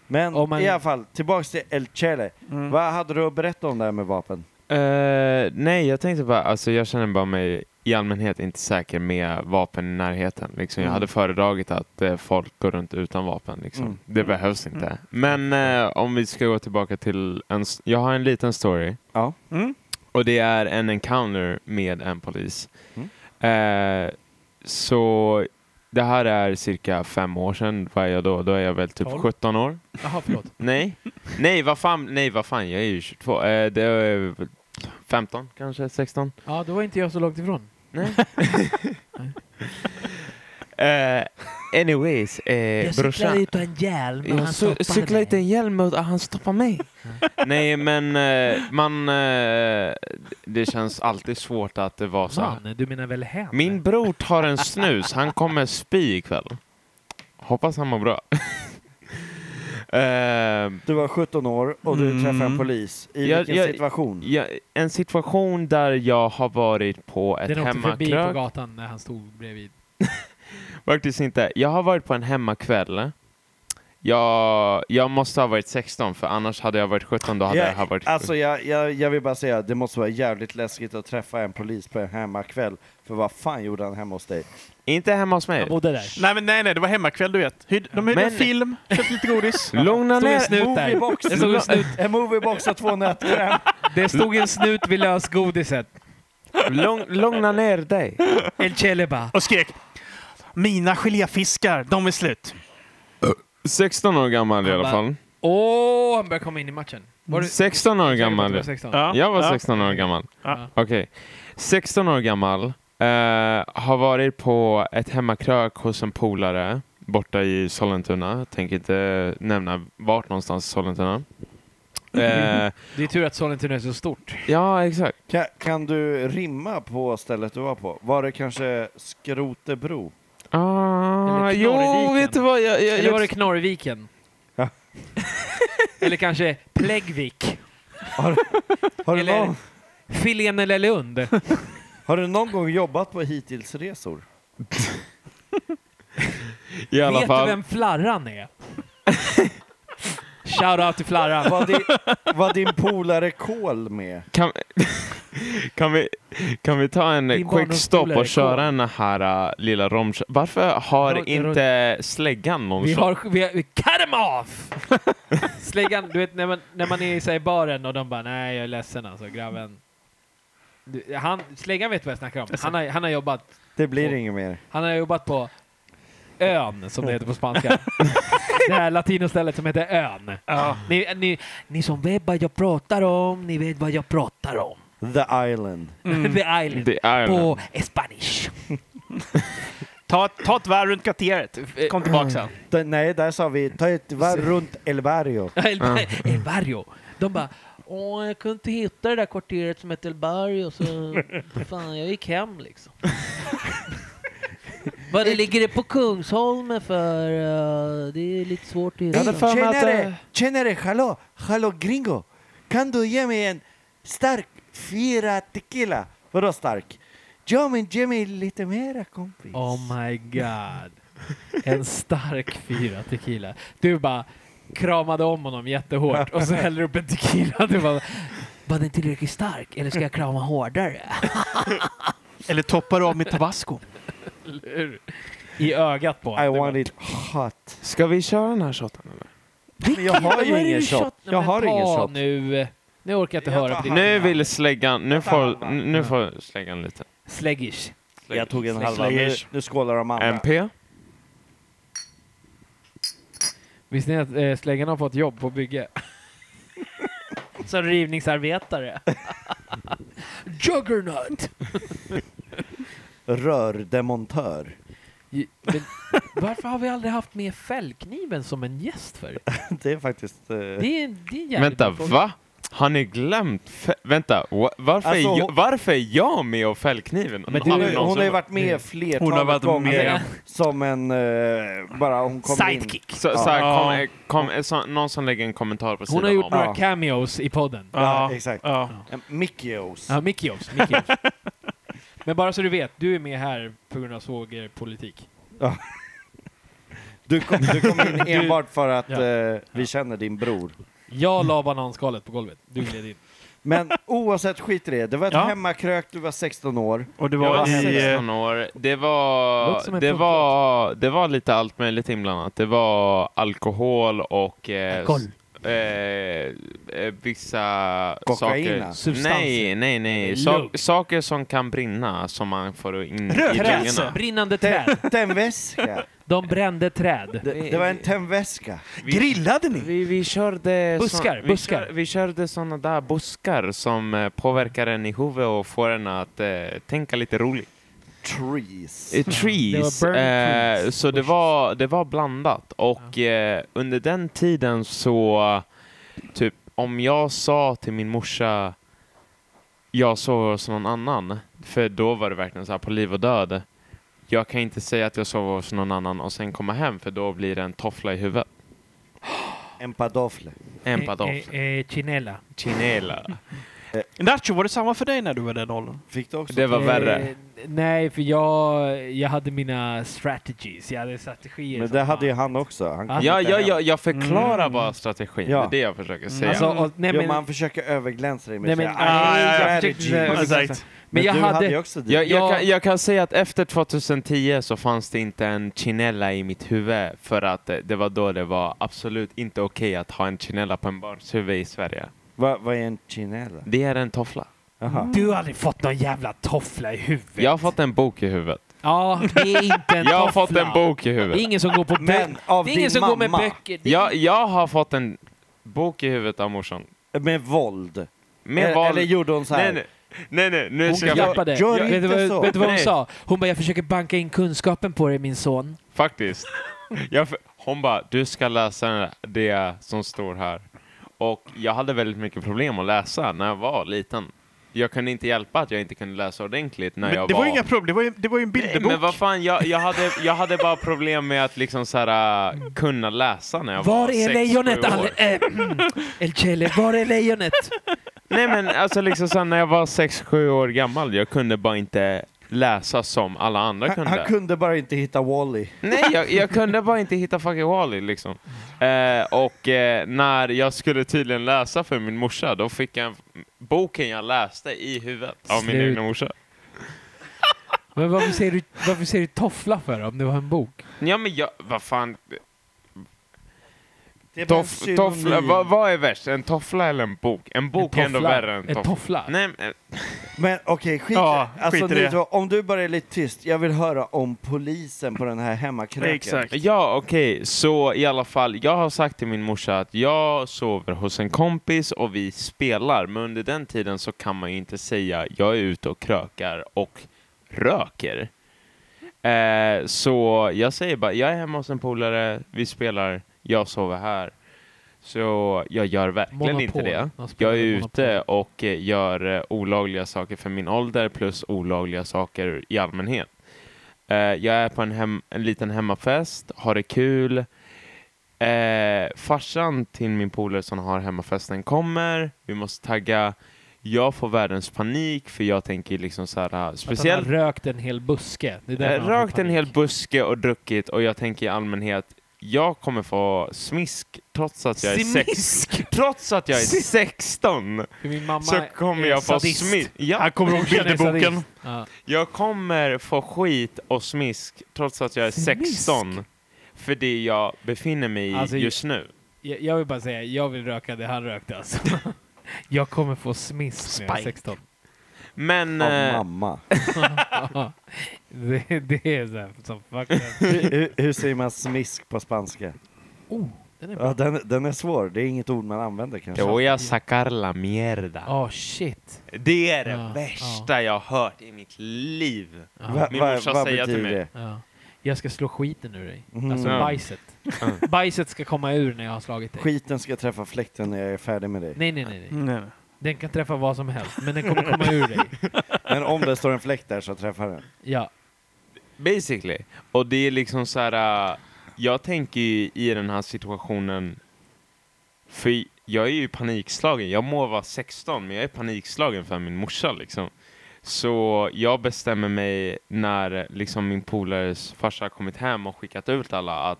D: Men
F: Om man-
D: i alla fall, tillbaks till El Chele. Vad hade du att berätta om det här med vapen?
G: Eh, nej, jag tänkte bara, alltså jag känner bara mig i allmänhet inte säker med vapen i närheten. Liksom. Jag
D: Mm.
G: hade föredragit att eh, folk går runt utan vapen. Liksom.
D: Mm.
G: Det behövs inte. Men eh, om vi ska gå tillbaka till en... s- Jag har en liten story.
D: Ja.
C: Mm.
G: Och det är en encounter med en polis.
D: Mm.
G: Eh, så det här är cirka fem år sedan. Vad är jag då? Då är jag väl typ
F: Tolv?
G: 17 år.
F: Jaha förlåt.
G: Nej, nej vad fan, nej vad fan, jag är ju 22. Eh, det är väl 15 kanske, 16.
F: Ja då var inte jag så långt ifrån.
G: Eh, Anyways, eh,
E: Jag cyklar
G: brorsan.
E: utan hjälm och
G: Jag
E: han
G: cy-
E: stoppade
G: cyklade
E: mig.
G: inte en hjälm och han stoppade mig. Nej, men eh, man... Eh, det känns alltid svårt att det var så. här.
F: Man, du menar väl hen?
G: Min bror tar en snus. Han kommer spy ikväll. Hoppas han mår bra. Eh,
D: Du var 17 år och du träffade en polis. I
G: Jag-
D: vilken
G: jag-
D: situation?
G: ja, en situation där jag har varit på ett
F: Den åkte förbi på
G: hemmakrök.
F: gatan när han stod bredvid.
G: Faktiskt inte. Jag har varit på en hemmakväll. Jag, jag måste ha varit 16 för annars hade jag varit 17 då hade
D: Ja,
G: jag ha varit
D: Alltså jag, jag, jag vill bara säga, det måste vara jävligt läskigt att träffa en polis på en hemmakväll. För vad fan gjorde han hemma hos dig?
G: Inte hemma hos mig.
F: Han bodde där.
C: Nej, men nej, nej, det var hemmakväll du vet. Hyrde- De hyrde en
G: Men-
C: film, köpte lite godis.
G: Lugna
F: Stod en
G: ner
F: snut där.
D: Moviebox!
F: Det stod en snut,
D: En moviebox och två nötkräm.
F: det stod en snut vid lösgodiset.
G: lugn, lugna ner dig.
F: El Cheleba.
C: Och skrek Mina geléfiskar, de är slut.
G: 16 år gammal i alla fall.
F: Åh, han börjar komma in i matchen. Var du
G: 16 år
F: säker på att
G: gammal.
F: du var 16?
G: Jag var
C: ja.
G: 16 år gammal.
C: Ja.
G: Okej. 16 år gammal. eh, har varit på ett hemmakrök hos en polare borta i Sollentuna. Tänker inte nämna vart någonstans i Sollentuna. Eh,
F: Det är tur att Sollentuna är så stort.
G: ja, exakt.
D: Kan, kan du rimma på stället du var på? Var det kanske Skrotebro?
G: Ah,
F: Eller
G: jo,
F: Knorrviken.
G: vet du vad? Jag, jag,
F: Eller var
G: jag,
F: det Knorrviken?
D: Ja.
F: Eller kanske Pläggvik?
D: Har du,
F: Eller-
D: någon,
F: Filén eller Lund?
D: har du någon gång jobbat på hitillsresor?
G: i alla
F: Vet
G: fall.
F: du vem Flarran är? Shoutout till Flarran.
D: Var, di, var din polare Kol med?
G: Kan, kan, vi, kan vi ta
F: Din
G: en quick
F: barndomsskola
G: stop
F: är cool.
G: och köra den här äh, lilla romkö... Varför har
F: Ro-
G: inte släggan någon
F: Vi
G: shot?
F: har... Vi, vi cut him off! Släggan, du vet när man, när man är i så här, i baren och de bara nej jag är ledsen alltså grabben. Du, han, släggan vet vad jag snackar om.
C: Alltså-
F: Han har, han har jobbat,
D: Det blir inget mer.
F: han har jobbat på ön som det heter på spanska. det här latinostället som heter ön.
E: Ni, ni, ni som vet vad jag pratar om, ni vet vad jag pratar om.
D: The Island.
G: Mm.
E: The Island.
G: Det är
E: På spanish.
C: Ta, ta ett varv runt kvarteret. Kom tillbaka sen.
D: D- nej, där sa vi ta ett varv runt El Barrio.
E: El, bar- el barrio. De bara Åh, jag kunde inte hitta det där kvarteret som hette El Barrio, så fan, jag gick hem liksom. Vad det ligger det på Kungsholmen för? eh, det är lite svårt att hitta.
G: hade för mig att, eh,
D: tjenare, hallå, hallå gringo. Kan du ge mig en stark fyra tequila? Vadå stark? Ja, men ge mig lite mera kompis.
F: Oh my god. En stark fyra tequila. Du bara kramade om honom jättehårt och så häller du upp en tequila. Du bara,
E: Var den tillräckligt stark eller ska jag krama hårdare?
C: Eller toppar av med tabasco.
F: ur, I ögat på
D: I
F: honom. Du
D: want it hot.
G: Ska vi köra den här shoten eller?
D: Men jag har ju
E: vad är det
D: ingen
E: du
D: shot.
E: tjatar
D: Jag
E: om?
D: har
F: bara,
D: ingen
F: "Ta
D: shot.
F: nu. Nu orkar jag inte höra på ditt
G: Nu vill släggan... Nu får, nu får släggan lite.
F: släggish.
D: Jag tog en halva. Nu, nu skålar de andra.
G: MP?
F: Visste ni att eh, släggan har fått jobb på bygge? Som rivningsarbetare.
E: Juggernaut!
D: Rördemontör.
F: Men, varför har vi aldrig haft med fällkniven som en gäst för?
D: Det är faktiskt... eh,
F: Det är, det är en jävligt
G: Vänta,
F: bra fråga.
G: va? Har ni glömt? fä- Vänta, wa-
D: Alltså,
G: varför, är jag,
D: hon-
G: varför är jag med och fällkniven?
F: Men
G: Har
F: du-
G: ni
D: Hon,
G: någon
D: hon
G: som-
D: har ju varit med flertalet gånger Alltså,
F: med.
D: som en... eh, bara hon kom in.
E: Sidekick!
G: Så, så här, kom, kom, så, någon som lägger en kommentar på sidan
F: Hon har gjort
G: om.
F: några
D: Ja.
F: cameos i podden.
D: Ja,
C: Ja.
D: exakt.
C: Ja.
D: En Mickios.
F: Ja, Mickios. Mickios. Men bara så du vet, du är med här på grund av svågerpolitik.
D: Du kom, du kom in enbart för att
F: Ja.
D: eh, vi känner din bror.
F: Jag la bananskalet på golvet. Du gled in.
D: Men oavsett, skit i det. Det var ett
C: Ja.
D: hemmakrök, du var 16 år.
C: Och det
G: Jag
C: var
G: var
C: i... eh,
G: 16 år.
F: Låter
G: Det
F: som en
G: var, det,
F: punklåt.
G: var, det var lite allt möjligt inblandat. Det var alkohol och eh,
E: Alkohol.
G: s- eh, eh, vissa
D: Kokaina.
G: saker.
F: Substanser.
G: Nej, nej, nej. Sa-
F: Lugg.
G: saker som kan brinna som man får in i
C: Rökelse.
G: lungorna.
F: Brinnande träd.
D: Te- Tändväska.
F: De brände träd.
D: Det, det var en tändväska.
C: Grillade ni?
G: Vi, vi körde
F: Buskar,
G: vi
F: buskar.
G: kör- vi körde sådana där buskar som eh, påverkar en i huvudet och får en att eh, tänka lite roligt.
D: trees.
G: Eh, Trees.
F: Det var burning
G: eh,
F: trees.
G: Så det var, det var blandat. Och eh, under den tiden så, typ, om jag sa till min morsa jag sov hos någon annan, för då var det verkligen så här på liv och död. Jag kan inte säga att jag sov hos någon annan och sen komma hem, för då blir det en toffla i huvudet.
D: En padofle.
G: En padoff.
E: Eh, eh, Chinella.
G: Chinela.
F: Eh,
C: eh, Nacho, var det samma för dig när du var den åldern?
D: Fick du också?
G: Det var värre.
F: Eh, nej, för jag, jag hade mina strategies. Jag hade strategier.
D: Men
F: som
D: det hade ju
F: fan. Ah,
D: han också. Han kom
G: Ja,
D: inte
G: ja,
D: hem.
G: ja, jag förklarar
C: Mm.
G: bara strategin.
D: Ja.
G: Det är det jag försöker säga.
F: Alltså, och, nej,
D: Jo,
F: men,
D: men han försöker överglänsa dig med
F: nej,
D: att
F: men,
D: säga,
C: Ah,
F: nej,
D: "I
F: jag
D: have
F: försökte-
D: strategies."
F: jag försökte-
C: Exakt.
F: Men jag
D: du
F: hade...
D: ju också det.
G: Jag, jag,
F: Ja.
G: kan, jag kan säga att efter 2010 så fanns det inte en chinella i mitt huvud för att eh, det var då det var absolut inte okej att ha en chinella på en barns huvud i Sverige.
D: Vad vad är en chinella?
G: Det är en toffla.
D: Jaha.
F: Du har aldrig fått någon jävla toffla i huvudet.
G: Jag har fått en bok i huvudet.
F: Ja, det är inte en toffla.
G: Jag har fått en bok i
F: Det är
G: huvudet.
F: ingen som går på
D: Men
F: böcker.
D: av
F: Det är ingen
D: din
F: som går med
D: mamma,
F: böcker. Det är-
G: Jag, jag har fått en bok i huvudet av morsan.
D: med våld.
G: Med
D: eller,
G: val...
D: eller gjorde hon så här?
G: Nej, nej, nej, nej, nu
F: Hon
G: ska jag...
F: klappade.
D: Gör
F: vet, du
D: inte så.
F: vad, vet du vad hon
G: Nej.
F: sa? Hon bara, jag försöker banka in kunskapen på dig min son.
G: Faktiskt. Jag, för- hon bara, du ska läsa det som står här. Och jag hade väldigt mycket problem att läsa när jag var liten. Jag kunde inte hjälpa att jag inte kunde läsa ordentligt när
C: Men
G: jag
C: det var
G: var...
C: ju inga problem, det var ju, det var ju en
G: Nej,
C: bilderbok.
G: men vad fan, jag, jag, hade, jag hade bara problem med att liksom så här, äh, kunna läsa när jag var,
F: Var är
G: sex,
F: lejonet?
G: sju år.
F: Ale, äh, El Chele, var är lejonet?
G: Nej men alltså liksom så här, när jag var sex, sju år gammal, jag kunde bara inte läsa som alla andra
D: han,
G: kunde.
D: han kunde bara inte hitta Wally.
G: Nej, jag, jag kunde bara inte hitta fucking Wall-E liksom. Eh, och eh, när jag skulle tydligen läsa för min morsa, då fick jag en, boken jag läste i huvudet av min
F: Slut.
G: egna morsa.
F: Men varför säger, du, varför säger du toffla för om det var en bok?
G: Ja men jag, vad fan.
D: Det är bara en
G: Toff,
D: synonym.
G: toffla, vad, vad är värst? En toffla eller en bok? En bok är ändå värre än
F: En
G: toffla.
F: toffla?
G: Nej, men,
D: Men okej, skit,
C: Ja,
D: alltså,
C: skit i
D: nu
C: det.
D: då, Om du bara är lite tyst, jag vill höra om polisen på den här hemmakröken.
C: Exakt.
G: ja okej, så i alla fall. Jag har sagt till min morsa att jag sover hos en kompis och vi spelar. Men under den tiden så kan man ju inte säga jag är ute och krökar och röker. Eh, så jag säger bara, jag är hemma hos en polare, vi spelar, jag sover här. Så jag gör verkligen inte det.
F: De spelar
G: Jag är
F: Monopol.
G: ute och eh, gör eh, olagliga saker för min ålder plus olagliga saker i allmänhet. Eh, jag är på en, hem, en liten hemmafest, har det kul. Eh, farsan till min polare som har hemmafesten kommer, vi måste tagga. Jag får världens panik för jag tänker liksom så här,
F: Att han
G: speciellt
F: har rökt en hel buske. Det är därför
G: Eh,
F: han har
G: Rökt en
F: panik.
G: hel buske och druckit och jag tänker i allmänhet, jag kommer få smisk trots att jag är, sex, trots att jag är 16.
F: För Min mamma
G: Så kommer
F: är
G: jag få
F: sadist.
G: smisk. Ja,
C: Han kommer ihåg
F: Morsan är
C: bilderboken.
F: sadist. Ja.
G: jag kommer få skit och smisk trots att jag är
F: Smisk?
G: 16. För det jag befinner mig i
F: Alltså,
G: just nu.
F: Jag, jag vill bara säga, jag vill röka det han rökte alltså. jag kommer få smisk när jag är
G: Spike.
F: 16.
G: Men...
D: Av
G: eh,
D: mamma.
F: det, det är så här, som fucking...
D: hur, hur- hur säger man smisk på spanska?
F: Oh, den är bra.
D: Ja, den, den är svår, det är inget ord man använder kanske.
G: Te voy a sacar la mierda.
F: Åh ah, shit.
G: Det är det
F: Ja,
G: värsta jag har hört i mitt liv.
F: Ja.
D: Va-
G: Min
D: va-
G: morsa
D: vad
G: säger till
D: betyder
G: mig.
D: det?
F: Ja. Jag ska slå skiten ur dig.
D: Mm.
F: Alltså
G: Ja.
F: bajset.
G: Mm.
F: Bajset ska komma ur när jag har slagit dig.
D: Skiten ska träffa fläkten när jag är färdig med dig.
F: Nej, nej, nej. nej.
C: Nej, nej.
F: Den kan träffa vad som helst, men den kommer komma ur dig.
D: Men om det står en fläkt där så träffar den.
F: Ja.
G: Basically. Och det är liksom så här. äh, jag tänker ju i den här situationen, för jag är ju panikslagen. Jag må vara 16, men jag är panikslagen för min morsa liksom. Så jag bestämmer mig när liksom min polares farsa har kommit hem och skickat ut alla att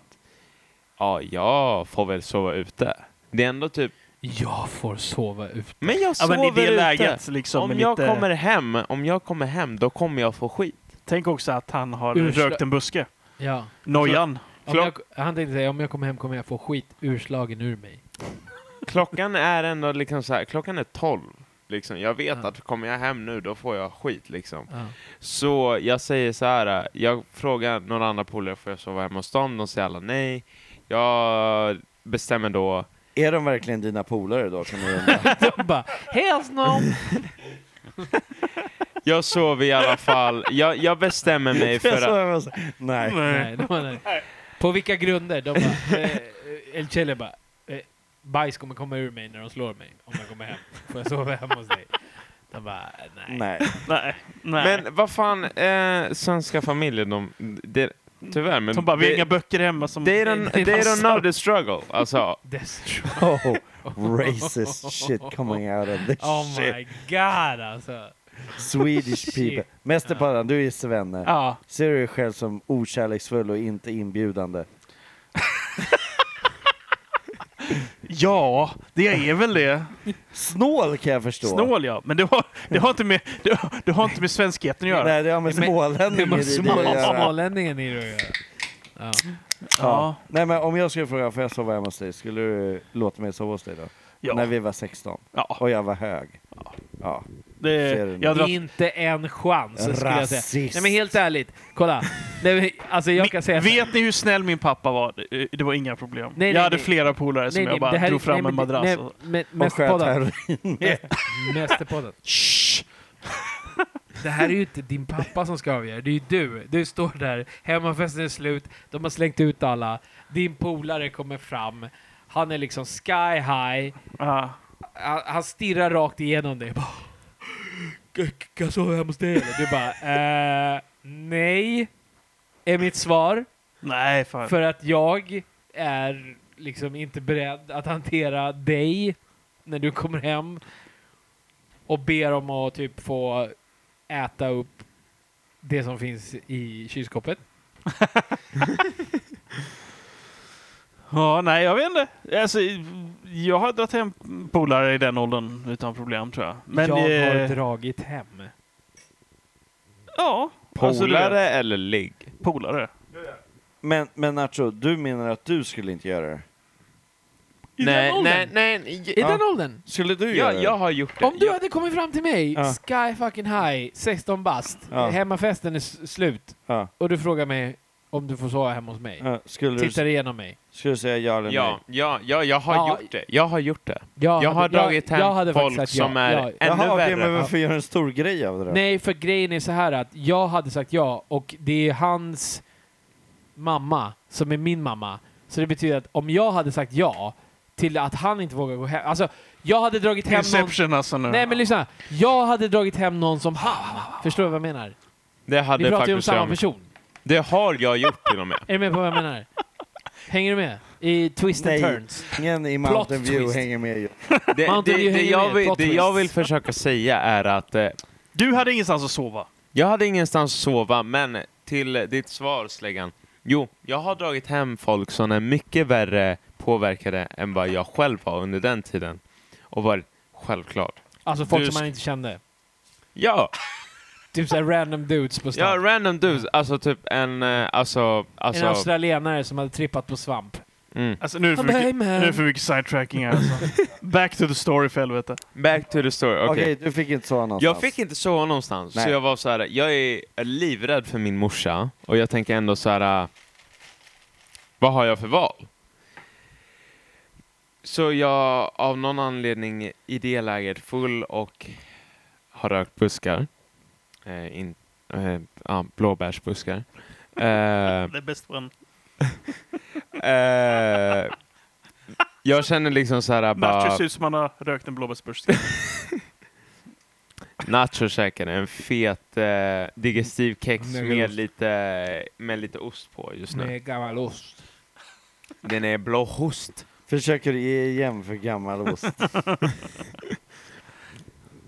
G: ja, jag får väl sova ute. Det är ändå typ,
F: Jag får sova ut.
G: men jag
C: Ja,
G: sover
C: men i det
G: ute.
C: läget liksom.
G: om
C: med
G: jag
C: lite...
G: kommer hem, om jag kommer hem, då kommer jag få skit.
C: Tänk också att han har
F: Ursla-
C: rökt en buske.
F: Ja.
C: Nojan.
F: Om jag, han tänkte säga, om jag kommer hem kommer jag få skit urslagen ur mig.
G: Klockan är ändå liksom så här, klockan är 12. Liksom. Jag vet
F: Ja.
G: att kommer jag hem nu då får jag skit liksom.
F: Ja.
G: Så jag säger så här, äh, jag frågar några andra polare får jag sova hemma hos dem? De säger alla nej. Jag bestämmer då,
D: Är de verkligen dina polare då? Kan man undra.
F: De bara, hells no!
G: Jag sov i alla fall. Jag, jag bestämmer mig för att...
D: Jag sa- Nej.
F: Nej, de var nej. På vilka grunder? De bara, eh, El Chele bara, eh, bajs kommer komma ur mig när de slår mig om jag kommer hem. Får jag sova hemma hos dig? De bara, nej.
D: Nej.
C: Nej. Nej.
G: Men vad fan, eh, svenska familjer, de... Det, tyvärr, men...
C: de bara, vi har
G: det-
C: inga böcker hemma som...
G: They don't, they don't know the struggle. Alltså,
F: Destro.
D: Oh, racist shit coming out of this
F: Oh
D: shit.
F: my god alltså.
D: Swedish people. Mästerpodden, du är svenne.
C: Ja.
D: Ser du dig själv som okärleksfull och inte inbjudande?
C: ja, det är väl det.
D: Snål kan jag förstå.
C: Snål ja, men det har, det har, inte, med, det, har, det har inte med svenskheten att göra.
D: Nej, det har med
F: Men- Det
D: smålänningar
F: var
D: i det
F: små,
D: att göra.
F: smålänningen i det att göra. Ja.
D: Ja. Nej, men om jag skulle fråga, får jag sova hemma hos dig? Skulle du låta mig sova hos dig då?
C: Ja.
D: När vi var 16.
C: Ja.
D: Och jag var hög. Ja.
C: Det,
D: Ser du
C: jag drar,
F: Inte en chans skulle jag säga.
D: Rasist.
F: Nej men helt ärligt, kolla. Nej, men, alltså jag kan säga så här.
C: vet ni hur snäll min pappa var? Det, det var inga problem.
F: Nej,
C: jag
F: nej,
C: hade
F: nej.
C: flera polare som
F: Nej, nej,
C: jag bara
F: det här är-
C: drog fram
F: nej, men
C: en
F: det-
C: madrass.
F: nej,
C: och,
F: men-
D: Och sköt
F: Mästerpodden.
D: heroin med.
F: Mästerpodden. Det här är ju inte din pappa som ska avgöra, det är ju du. Du står där, hemmafesten är slut, de har slängt ut alla, din polare kommer fram, han är liksom sky high,
C: Ah.
F: han, han stirrar rakt igenom dig. Bara, "Kan- kan jag sova hemma hos dig eller? Du bara, eh, nej, är mitt svar.
C: nej, fan.
F: För att jag är liksom inte beredd att hantera dig när du kommer hem och ber om att typ få äta upp det som finns i kylskåpet.
C: Ja, nej, jag vet inte. Alltså, jag har dragit hem polare i den åldern utan problem tror jag. Men
F: jag
C: eh,
F: har dragit hem.
C: ja, alltså, du vet,
G: polare eller ligg?
C: polare.
D: Men, men Nacho, du menar att du skulle inte göra det?
F: I den
G: Nej,
F: åldern?
G: nej, nej.
F: I
G: Ja.
F: den åldern?
D: Skulle du göra
G: Jag, jag har gjort det.
F: Om du
G: jag,
F: hade kommit fram till mig,
D: Ja.
F: sky fucking high, 16 bast,
D: Ja.
F: hemmafesten är s- slut
D: Ja.
F: och du frågar mig om du får sova hemma hos mig.
D: det? Ja, skulle, du,
F: Tittar igenom mig.
D: skulle du säga ja eller nej?
G: ja, ja, ja, jag har
F: Ja.
G: gjort det. Jag har gjort det.
F: Jag,
G: Jag har
F: hade-
G: dragit hem
F: hade faktiskt
G: folk
F: sagt ja.
G: som är
F: Ja.
G: ännu
D: Jaha, okej,
G: värre.
D: men varför gör du en stor grej av det då?
F: Nej, för grejen är så här att jag hade sagt ja och det är hans mamma som är min mamma. Så det betyder att om jag hade sagt ja till att han inte vågar gå hem. Alltså, jag hade dragit hem någon...
C: Inception alltså nu.
F: Nej, men lyssna. Jag hade dragit hem någon som han. Förstår du vad jag menar?
G: Det
F: Vi
G: hade
F: pratar ju om
G: faktiskt
F: samma
G: jag.
F: person.
G: Det har jag gjort till och med.
F: Är du med på vad jag menar? Hänger du med? I Twist and
D: Nej.
F: Turns.
D: Ingen i
F: Plot
D: Mountain View
F: twist.
D: hänger med. ju.
G: Det,
F: Mountain
G: det,
F: Dew
G: det,
F: hänger
G: jag,
F: med,
G: vill,
F: plot
G: det jag
F: twist.
G: vill försöka säga är att eh,
C: Du hade ingenstans att sova.
G: jag hade ingenstans att sova, men till ditt svar, Släggan. Jo, jag har dragit hem folk som är mycket värre påverkade än vad jag själv var under den tiden. Och varit självklart.
F: Alltså folk
G: Du
F: som
G: sk-
F: man inte kände.
G: Ja,
F: Typ såhär random dudes på
G: ja
F: stan.
G: random dudes. Alltså typ en, eh, alltså,
F: En
G: alltså.
F: australienare som hade trippat på svamp.
G: Mm.
C: Alltså, nu är det för
F: Han bara,
C: mycket,
F: "Hey, man."
C: nu är det för mycket sidetracking här alltså. Back to the story för helvete.
G: Back to the story.
D: Okej,
G: Okej.
D: du fick inte sova någonstans.
G: Jag fick inte sova någonstans,
D: Nej.
G: så jag var så här. jag är livrädd för min morsa och jag tänker ändå så här. äh, vad har jag för val? Så jag av någon anledning i det läget full och har rökt buskar. Eh, in, eh, ja, blåbärsbuskar. Eh,
C: The best one.
G: eh, jag känner liksom så här bara...
C: Nacho ser ut som han har rökt en blåbärsbuske.
G: Nacho käkade en fet eh, digestiv kex
F: Med
G: med
F: ost.
G: lite, med lite ost på just nu.
F: Med gammal ost.
G: Den är blåost.
D: Försöker du ge igen för gammal ost?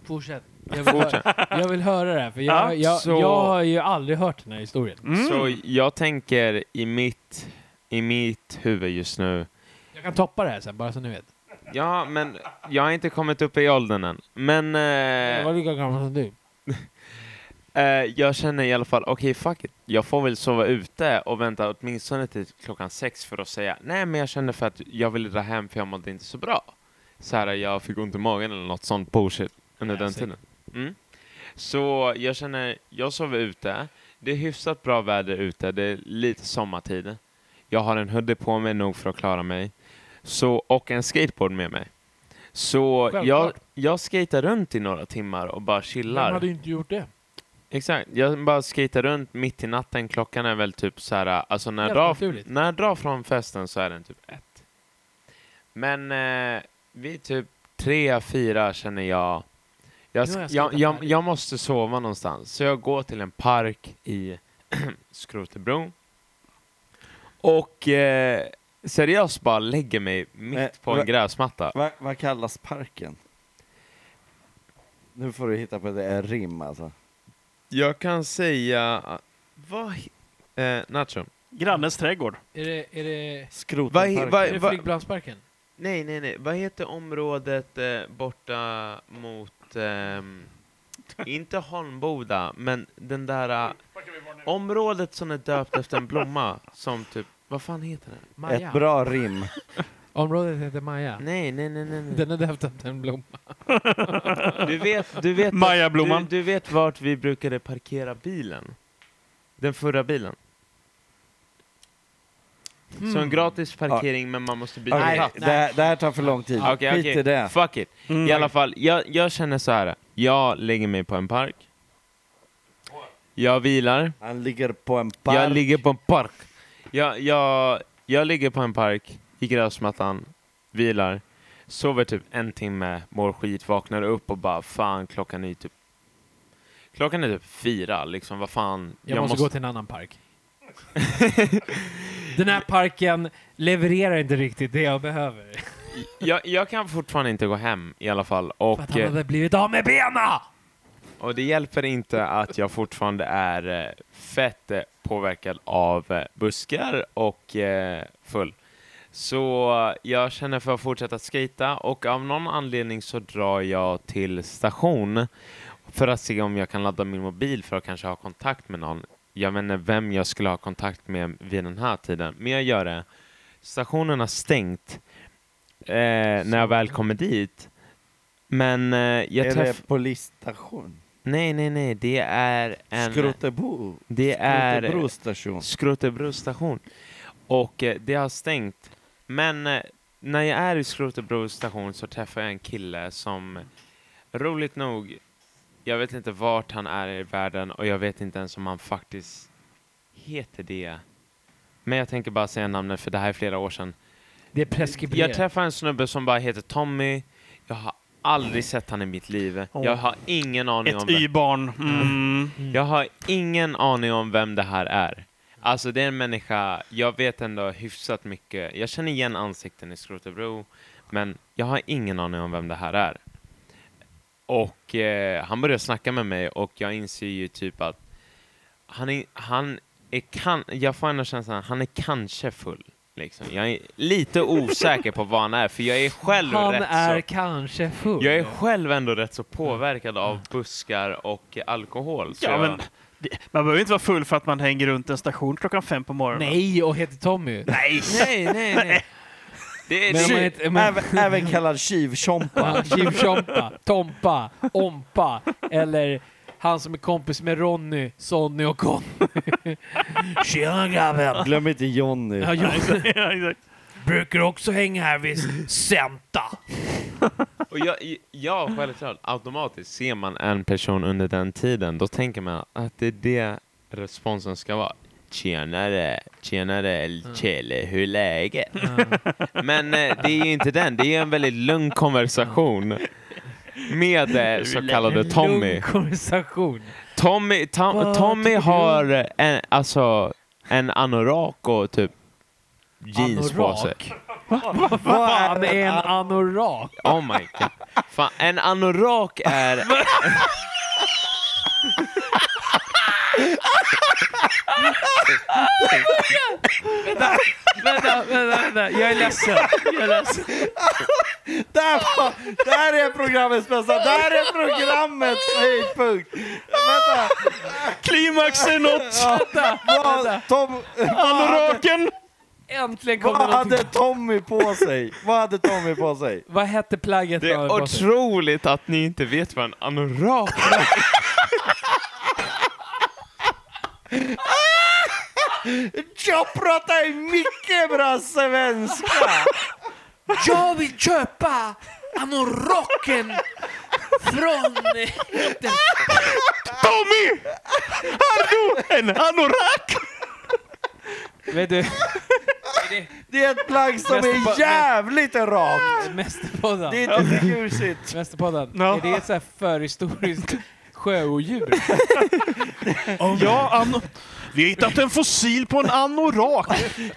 F: Fortsätt. Jag vill, höra, jag vill höra det här, för jag,
C: Ja,
F: jag,
G: så-
F: jag har ju aldrig hört den här historien.
C: Mm.
G: Så jag tänker i mitt, i mitt huvud just nu.
F: Jag kan toppa det här sen, bara så ni vet.
G: Ja, men jag har inte kommit upp i åldern än. Men
F: Jag var
G: eh,
F: lika gammal som du.
G: eh, jag känner i alla fall, okej fuck it. Jag får väl sova ute och vänta åtminstone till klockan sex för att säga nej, men jag känner för att jag ville dra hem för jag mådde inte så bra. Så här, jag fick ont i magen eller något sånt bullshit under den
F: Classic.
G: tiden. Mm. Så jag känner, jag sover ute. Det är hyfsat bra väder ute, det är lite sommartid. Jag har en hoodie på mig nog för att klara mig. Så, och en skateboard med mig. Så jag,
F: Självklart.
G: jag skater runt i några timmar och bara chillar.
F: ju inte gjort det?
G: Exakt, jag bara skejtar runt mitt i natten. Klockan är väl typ så här, alltså när
F: Jävligt
G: jag, drar,
F: naturligt.
G: när jag drar från festen så är den typ ett. Men eh, vid typ tre, fyra känner jag, jag,
F: Nu har jag
G: jag, jag,
F: skejtat
G: jag,
F: färdigt.
G: jag måste sova någonstans. Så jag går till en park i Skrotebro och eh, seriöst bara lägger mig mitt
D: Men,
G: på en
D: va-
G: gräsmatta.
D: Vad vad kallas parken? Nu får du hitta på det är rim alltså.
G: Jag kan säga, eh, vad, he- eh, Nacho?
C: Grannens trädgård.
F: Är det, är det,
G: Vad,
D: Skrotenparken.
G: he-
F: är det
G: vad, vad,
F: flygplansparken?
G: Nej, nej, nej. Vad heter området eh, borta mot... ehm, inte Holmboda, men den där... Eh, området som är döpt efter en blomma som typ... Vad fan heter den?
F: Maja?
D: Ett bra rim.
F: Området heter Maja.
G: Nej, nej, nej, nej. nej.
F: Den är döpt efter en blomma.
G: Du vet... Du vet, du,
C: Majablomman.
G: du vet vart vi brukade parkera bilen? Den förra bilen. Så en gratis parkering, men man måste byta
D: Okej,
G: hatt.
D: det, här- det här tar för lång tid.
G: Okej, okej.
D: Skit i det.
G: Fuck it.
F: Mm.
G: I alla fall, jag, jag känner så här. Jag lägger mig på en park. Jag vilar.
D: Han ligger på en park.
G: Jag ligger på en park. Jag, jag, jag ligger på en park i gräsmattan, vilar, sover typ en timme, mår skit, vaknar upp och bara fan klockan är typ Klockan är typ fyra, liksom vad fan.
F: Jag, måste, gå till en annan park. Den här parken levererar inte riktigt det jag behöver.
G: jag, jag kan fortfarande inte gå hem i alla fall. Och,
F: För att han hade blivit av med bena!
G: Och det hjälper inte att jag fortfarande är eh, fett eh, påverkad av eh, buskar och eh, full. Så jag känner för att fortsätta skita och av någon anledning så drar jag till station för att se om jag kan ladda min mobil för att kanske ha kontakt med någon. Jag vet inte vem jag skulle ha kontakt med vid den här tiden, men jag gör det. Stationen har stängt eh, när jag väl kommer dit. Men eh, jag
D: är
G: träffar...
D: det polisstation?
G: Nej, nej, nej. Det är en...
D: Skrotebo?
G: det är
D: Skrotebro station.
G: Skrotebro station. Och eh, det har stängt. Men eh, när jag är i Skrotebro station så träffar jag en kille som, roligt nog, jag vet inte vart han är i världen och jag vet inte ens om han faktiskt heter det. Men jag tänker bara säga namnet för det här är flera år sedan.
F: Det är
G: Jag
F: preskriberat.
G: träffar en snubbe som bara heter Tommy. Jag har aldrig sett han i mitt liv. Jag har ingen aning om
C: Ett
G: vem-
C: Y-barn. Mm.
G: jag har ingen aning om vem det här är. Alltså det är en människa, jag vet ändå hyfsat mycket. Jag känner igen ansikten i Skrotebro, men jag har ingen aning om vem det här är. Och eh, han börjar snacka med mig och jag inser ju typ att han är, han är kan, jag får ändå känslan, han är kanske full. Liksom. Jag är lite osäker på vad han är, för jag är själv
F: Han
G: rätt
F: är
G: så...
F: kanske full.
G: Jag är själv ändå rätt så påverkad av buskar och alkohol. Så
C: Ja,
G: jag,
C: men, det, man behöver inte vara full för att man hänger runt en station klockan fem på morgonen.
F: Nej, och heter Tommy.
C: Nej.
G: Nej, nej, nej. Det är
F: Men om man
G: det.
F: heter... men-
D: Även, även kallad tjuvtjompa.
F: Ja, Tjuvtjompa, Tompa, Ompa eller han som är kompis med Ronny, Sonny och Con. Tjena grabben!
D: Glöm inte Jonny.
F: Ja, jag
C: Ja, exakt.
F: brukar också hänga här vid Senta.
G: Och jag, jag självklart, automatiskt ser man en person under den tiden, då tänker man att det är det responsen ska vara. Tjenare, tjenare,
F: Mm.
G: tjele, hur är läget? Men eh, det är ju inte den, det är ju en väldigt lugn konversation med eh, så kallade Tommy.
F: Lugn konversation.
G: Tommy, Tom,
F: Vad
G: Tommy
F: tycker du?
G: har en, alltså, en anorak och typ jeans på
F: Anorak?
G: sig.
D: Vad
F: Han är en anorak.
G: Oh my god. Fan, en anorak är...
F: Vänta, vänta, vänta. Jag är ledsen. Jag är ledsen.
D: Där var, där är programmets bästa, där är programmets höjdpunkt! Vänta,
C: Klimaxen nått!
F: Vänta, vänta.
D: vad, Tom,
C: Anoraken!
F: Äntligen kommer
D: vad
F: någonting.
D: hade Tommy på sig? Vad hade Tommy på sig?
F: Vad hette plagget?
G: Det är otroligt att ni inte vet vad en anorak är.
D: Jag pratar mycket bra svenska!
F: Jag vill köpa anoraken
E: från... eh, heter-
G: Tommy! Han en anorak!
C: Vet du,
D: Det är ett plagg som är
F: Nästa-
D: jävligt rakt!
F: Mästerpodden.
D: Det är inte tjusigt.
F: Mästerpodden.
C: Ja.
F: Är det ett så här förhistoriskt sjöodjur?
C: ja, an... Vi har hittat en fossil på en anorak.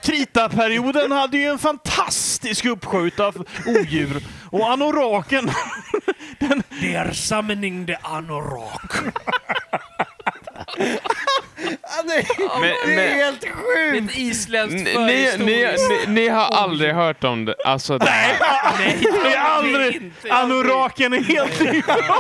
C: Kritaperioden hade ju en fantastisk uppskjut av odjur. Och anoraken...
H: They are summoning the anorak.
D: Ah, nej,
G: Men-
D: det är
G: men-
D: helt sjukt!
F: Ett isländskt
G: Ni, ni, ni, ni, ni har aldrig hört om det. Alltså, det, här.
C: Det är aldrig... Anoraken är helt ny.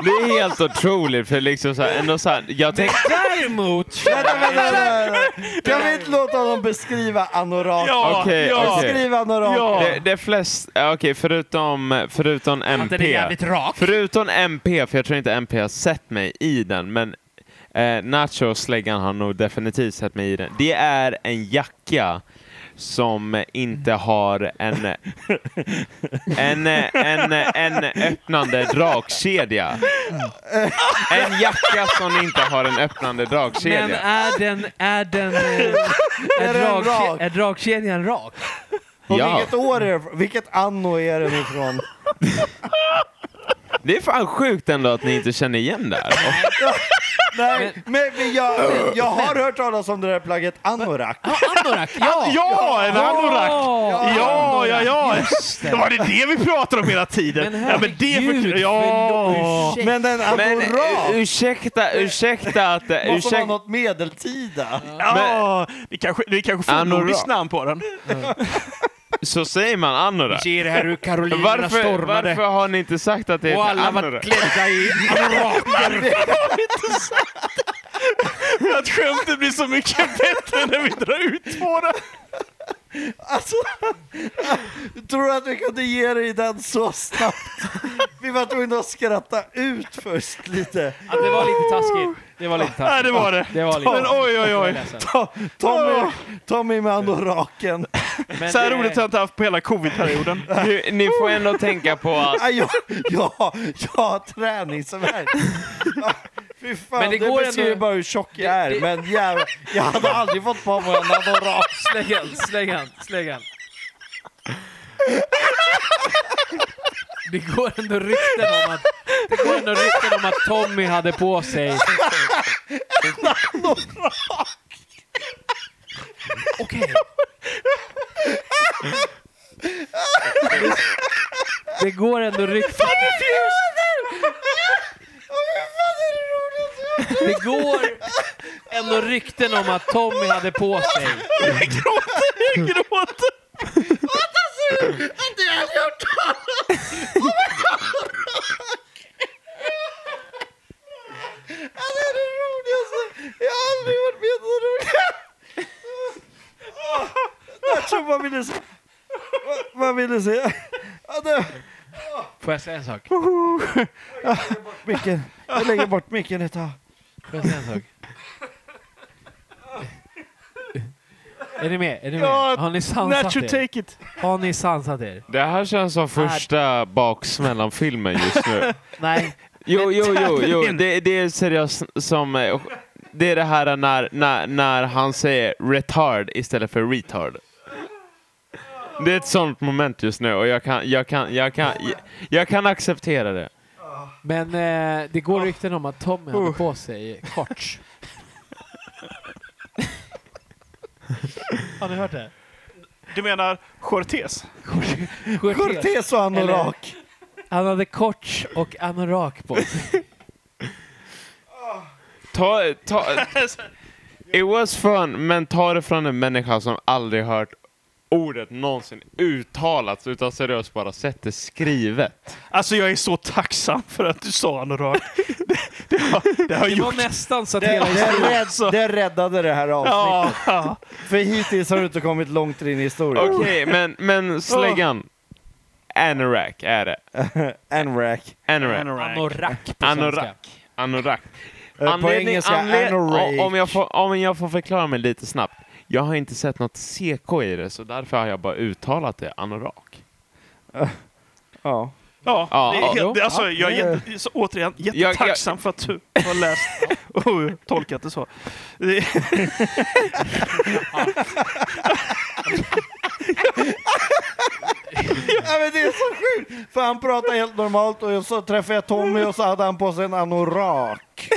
G: det är helt otroligt. För liksom så här, ändå så här, jag tänk,
F: Däremot...
D: Vänta, vänta, vänta, vänta. Kan vi inte låta honom beskriva anorak?
C: Ja,
G: Okej,
C: ja.
G: okej.
D: Beskriva anorak.
C: Ja.
G: det, det flest, ja, okej, förutom, förutom
F: Att den är
G: MP.
F: jävligt rak.
G: Förutom MP, för jag tror inte MP har sett mig i den, men eh, Nacho och släggan har nog definitivt sett mig i den. Det är en jacka som inte har en, en, en, en öppnande dragkedja. En jacka som inte har en öppnande
E: Men
G: dragkedja.
E: är den... Är den... eh, Är,
D: Är den
E: drag,
D: rak?
E: är dragkedjan rak?
D: Och
G: Ja,
D: vilket år är det, Vilket anno är den ifrån?
G: det är fan sjukt ändå att ni inte känner igen det här.
D: Nej, men, men jag, men jag har hört talas om det där plagget anorak.
F: Ja, anorak. Ja!
C: Ja, en anorak!
F: Ja!
C: Ja, ja, ja!
F: Just det.
C: Var det det vi pratade om hela tiden?
F: Men
C: ja, men det
F: herregud,
C: för... Ja!
F: förlåt.
D: Men en
G: Men
D: anorak
G: eh, ursäkta, ursäkta att...
D: måste vara
G: Ursäkta.
D: något medeltida.
C: ja det kanske, det kanske får
G: Anorak.
C: nordiskt namn på den.
G: Så säger man anorak.
F: Ser det här hur Carolina
G: Varför,
F: stormade
G: varför har ni inte sagt att det
F: och
G: är
F: alla var
G: anorak?
F: klädda i anoraker.
C: Att skämtet blir så mycket bättre när vi drar ut på det.
D: Alltså, tror du att vi kunde ge dig den så snabbt? Vi var tvungna att skratta ut först lite.
F: Ja, det var lite taskigt. Det var lite
C: Nej,
F: taskigt.
C: det var det.
F: Det var lite
C: Men oj, oj, oj.
D: Ta- Tommy, Tommy med anoraken.
F: Men,
C: Så här
F: eh,
C: roligt har jag inte haft på hela covid-perioden.
G: Ni, ni får ändå tänka på att...
D: Ah, jag, jag, jag har träningsvärk. Ah, Fy fan,
F: Men
D: det,
F: det går
D: beskriver
F: ändå-
D: bara hur tjock jag är.
F: det-
D: Men jävlar, jag hade aldrig fått på mig en anorak.
F: Släng han, släng han, släng han. Det går ändå rykten om att, det går ändå rykten om att Tommy hade på sig... Okej. Det går ändå rykten... Det går ändå rykten om att Tommy hade på sig
C: Jag gråter.
D: Det är det roligaste. Jag har aldrig varit med om det roligare. Nacho, vad vill du säga? Vad- Vad vill du säga? Ja, det-
F: Får jag säga en sak?
D: Micken. Jag lägger bort micken ett tag.
F: Får jag säga en sak? Är ni med? Är ni med?
C: Ja,
F: Har ni sansat
C: Nature
F: er?
C: take it.
F: Har ni sansat er?
G: Det här känns som första baksmällan-filmen just nu.
F: Nej.
G: Jo, jo, jo, jo. Det, det är seriöst som... eh, Det är det här när, när, när han säger retard istället för retard. Det är ett sånt moment just nu och jag kan, jag kan, jag kan, jag, jag kan acceptera det.
F: Men eh, det går rykten om att Tommy hade på sig shorts. Har ni hört det?
C: Du menar Cortés?
F: Shorts.
D: Cortez och anorak.
F: Han hade korts och anorak på sig.
G: Ta, ta, it was fun, men ta det från en människa som aldrig hört ordet någonsin uttalats utan seriöst bara sett det skrivet.
C: Alltså jag är så tacksam för att du sa anorak. Det, det, har, det har
F: Det var
C: gjort...
F: nästan så att
D: Det,
F: hela
D: det,
F: historien...
D: rädd, det räddade det här avsnittet.
C: Ja, ja.
D: För hittills har du inte kommit långt in i historien.
G: Okej, men,
D: Oh.
G: men släggan. Anorak är det.
D: Anorak.
G: Anorak.
F: Anorak på svenska.
G: Anorak. Anorak.
D: Eh, På engelska,
G: anled- om,
D: anorak.
G: jag får, om jag får förklara mig lite snabbt. Jag har inte sett något CK i det, så därför har jag bara uttalat det anorak.
D: Ja.
C: Ja,
G: Ja,
C: det är
G: ja,
C: helt,
F: jo.
C: alltså, jag är
F: Ja,
C: jätte, så, återigen jättetacksam för att du har läst och tolkat det så. Det-
D: Ja, men det är så sjukt! För han pratar helt normalt och så träffade jag Tommy och så hade han på sig en anorak.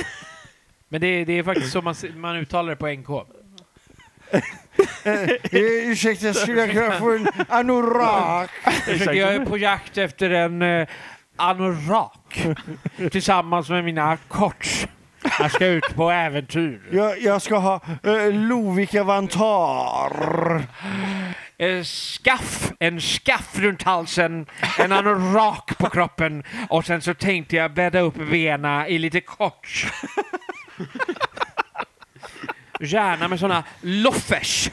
F: Men det, det är faktiskt så man, se- man uttalar det på NK.
D: Eh, ursäkta, jag skulle jag kunna få en anorak?
F: Ursäkta, jag är på jakt efter en eh, anorak tillsammans med mina korts. Jag ska ut på äventyr.
D: Jag, jag ska ha eh, Lovikka vantar.
F: Eh, skaff, en skaff runt halsen, en anorak på kroppen och sen så tänkte jag bädda upp bena i lite korts. Gärna med såna loffers.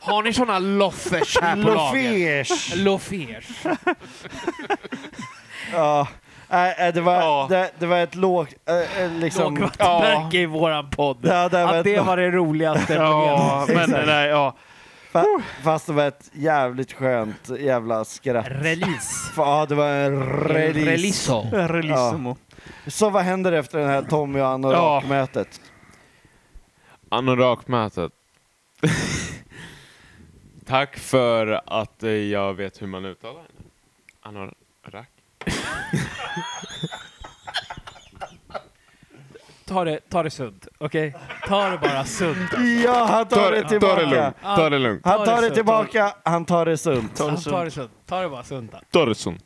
F: Har ni såna loffers här på lager?
D: Lofesh.
F: Loffers.
D: Ja. Äh, äh, det, var,
C: Ja.
D: det, det var ett lågt... Äh, äh, liksom,
F: Lågvattenmärke i våran podd.
D: Ja, det var
F: Att
D: ett
F: det
D: lågt-
F: var det roligaste.
C: Ja, men
D: Exakt.
C: nej, ja.
D: fa- fast det var ett jävligt skönt jävla skratt.
F: Release.
D: Ja, det var en release.
F: Release.
C: Relissimo.
D: Så vad händer efter det här Tommy och anorak-mötet?
G: Anorakmötet. Tack för att eh, jag vet hur man uttalar henne. Anorak?
F: Ta det, ta det sunt, okej? Ta det bara sunt.
D: Ja, han tar det
G: Ta det
D: tillbaka.
G: lugnt. Ta det lugnt.
D: Han tar det
F: sunt.
D: tillbaka, han tar det sunt.
F: Ta det sunt. Ta det, sunt. Ta det bara sunt.
G: Dorsson.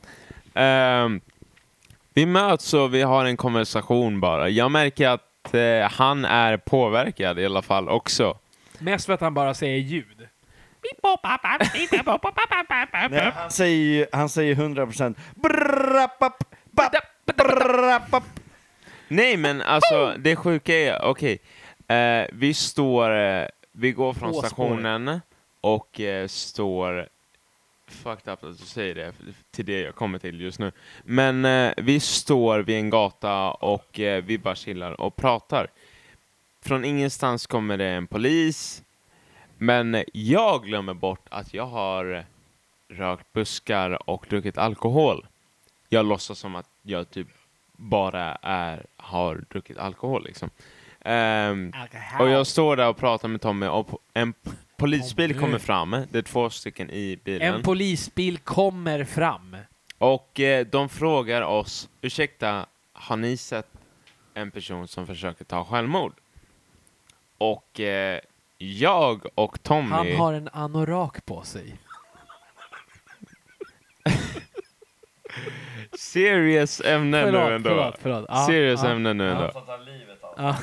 G: Ehm, vi möts och vi har en konversation bara. Jag märker att eh, han är påverkad i alla fall också.
F: Mest för att han bara säger ljud.
D: Nej, han säger ju han säger 100 procent. Ja,
G: Nej, men alltså det sjuka är, okej. Eh, vi står, eh, vi går från
F: På spåret.
G: stationen och eh, står, fucked up att du säger det, för- till det jag kommer till just nu. Men eh, vi står vid en gata och eh, vi bara chillar och pratar. Från ingenstans kommer det en polis, men jag glömmer bort att jag har rökt buskar och druckit alkohol. Jag låtsas som att jag typ bara är, har druckit alkohol liksom. Ehm, och jag står där och pratar med Tommy och po- en p- polisbil kommer fram. Det är två stycken i bilen.
F: En polisbil kommer fram.
G: Och eh, de frågar oss, ursäkta, har ni sett en person som försöker ta självmord? Och eh, jag och Tommy...
F: Han har en anorak på sig.
G: Serious ämne nu
F: Förlåt,
G: ändå.
F: förlåt, förlåt. Ja,
G: Serious
F: ja,
G: ämne nu
F: ja.
G: ändå.
F: Ja.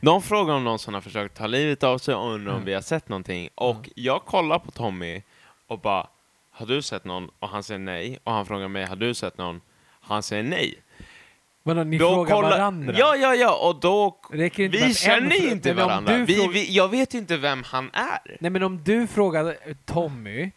G: De frågar om någon som har försökt ta livet av sig och undrar om vi har sett någonting.
F: Mm.
G: Och jag kollar på Tommy och bara, har du sett någon? Och han säger nej. Och han frågar mig, har du sett någon? Han säger nej.
F: Vadå, ni
G: Då
F: frågar
G: kollar-
F: varandra?
G: Ja, ja, ja. Och då...
F: Räcker inte med
G: Vi
F: att en
G: känner ju
F: frå-
G: inte
F: Nej, men om
G: varandra.
F: du
G: Vi,
F: frågar-
G: vi, jag vet ju inte vem han är.
F: Nej men om du frågar eh, Tommy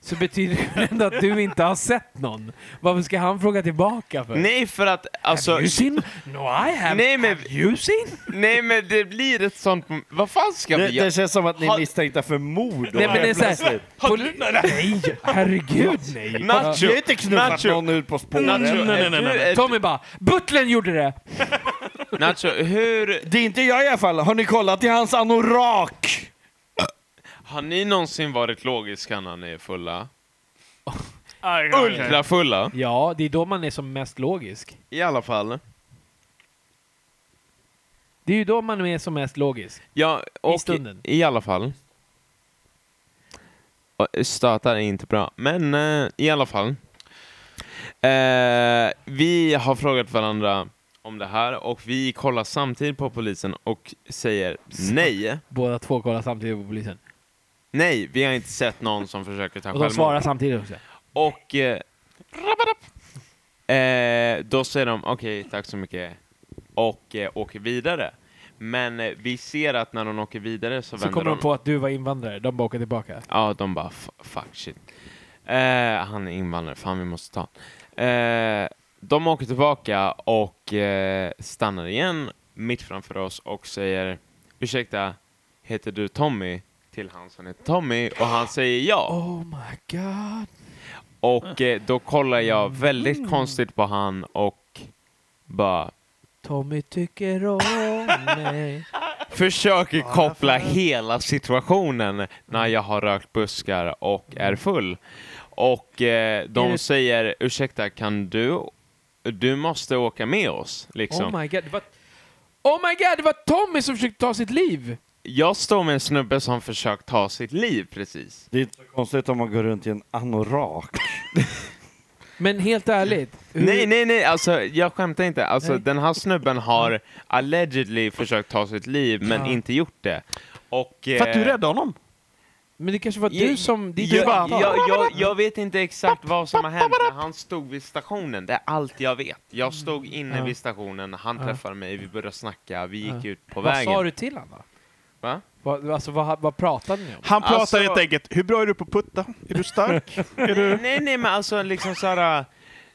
F: så betyder det ju ändå att du inte har sett någon. Varför ska han fråga tillbaka för?
G: Nej, för att alltså...
F: Have you seen? No I have.
G: Nej, men-
F: Have you seen?
G: Nej, men det blir ett sånt... Vad fan ska
D: det,
G: vi göra?
D: det känns som att ni är
G: Har-
D: misstänkta för mord.
F: Nej men det är
D: Helt
F: såhär...
D: plötsligt.
F: Har du? Nej, herregud nej.
G: Nacho!
D: Jag har inte knuffat
G: Nacho.
D: någon ut på
G: Nacho,
D: spåren.
G: är du- är-
F: Tommy bara, butlern gjorde det!
G: Nacho, hur...
D: Det är inte jag i alla fall. Har ni kollat i hans anorak?
G: Har ni någonsin varit logiska när ni är fulla?
C: Aj, aj, aj.
G: Ultrafulla?
F: Ja, det är då man är som mest logisk.
G: I alla fall.
F: Det är ju då man är som mest logisk.
G: Ja, och
F: stunden.
G: I alla fall. Och Stötar är inte bra, men eh, i alla fall. Eh, vi har frågat varandra om det här och vi kollar samtidigt på polisen och säger nej.
F: Båda två kollar samtidigt på polisen.
G: Nej, vi har inte sett någon som försöker ta
F: Och de
G: självmord.
F: svarar samtidigt också.
G: Och... Eh, rabadab. eh, då säger de okej, tack så mycket. Och eh, åker vidare. Men eh, vi ser att när de åker vidare så,
F: Så
G: vänder
F: kommer
G: de...
F: de på att du var invandrare, de bara åker tillbaka.
G: Ja, de bara "F- fuck shit. Eh, han är invandrare, fan vi måste ta han. eh, De åker tillbaka och eh, stannar igen mitt framför oss och säger ursäkta, heter du Tommy? Till han som heter Tommy och han säger ja.
F: Oh my god.
G: Och eh, då kollar jag väldigt konstigt på han och bara
E: Tommy tycker om mig.
G: försöker koppla hela situationen när jag har rökt buskar och är full. Och eh,
E: Är
G: de
E: det-
G: säger ursäkta, kan du? Du måste åka med oss. Liksom.
F: Oh my god, det var... Oh my god, det var Tommy som försökte ta sitt liv!
G: Jag står med en snubbe som försökt ta sitt liv precis.
D: Det är inte så konstigt om man går runt i en anorak.
F: Men helt ärligt. hur-
G: Nej, nej, nej, alltså jag skämtar inte. Alltså
F: Nej.
G: den här snubben har allegedly försökt ta sitt liv men inte gjort det. Och,
C: För att du
G: eh,
C: räddade honom.
F: Men det kanske var
G: Ja,
F: du som... Det är du
G: Jag,
F: bara,
G: jag, jag, jag vet inte exakt vad som har hänt, men han stod vid stationen. Det är allt jag vet. Jag stod inne
F: Ja.
G: vid stationen, han träffade mig, vi började snacka, vi gick
F: Ja.
G: ut på
F: vad sa
G: vägen.
F: du till honom då?
G: Va?
F: Vad, alltså, vad, vad pratade ni om?
C: Han pratar
G: Alltså-
C: helt enkelt, hur bra är du på att putta? Är du stark?
G: Nej, nej, nej, men alltså liksom så här. äh,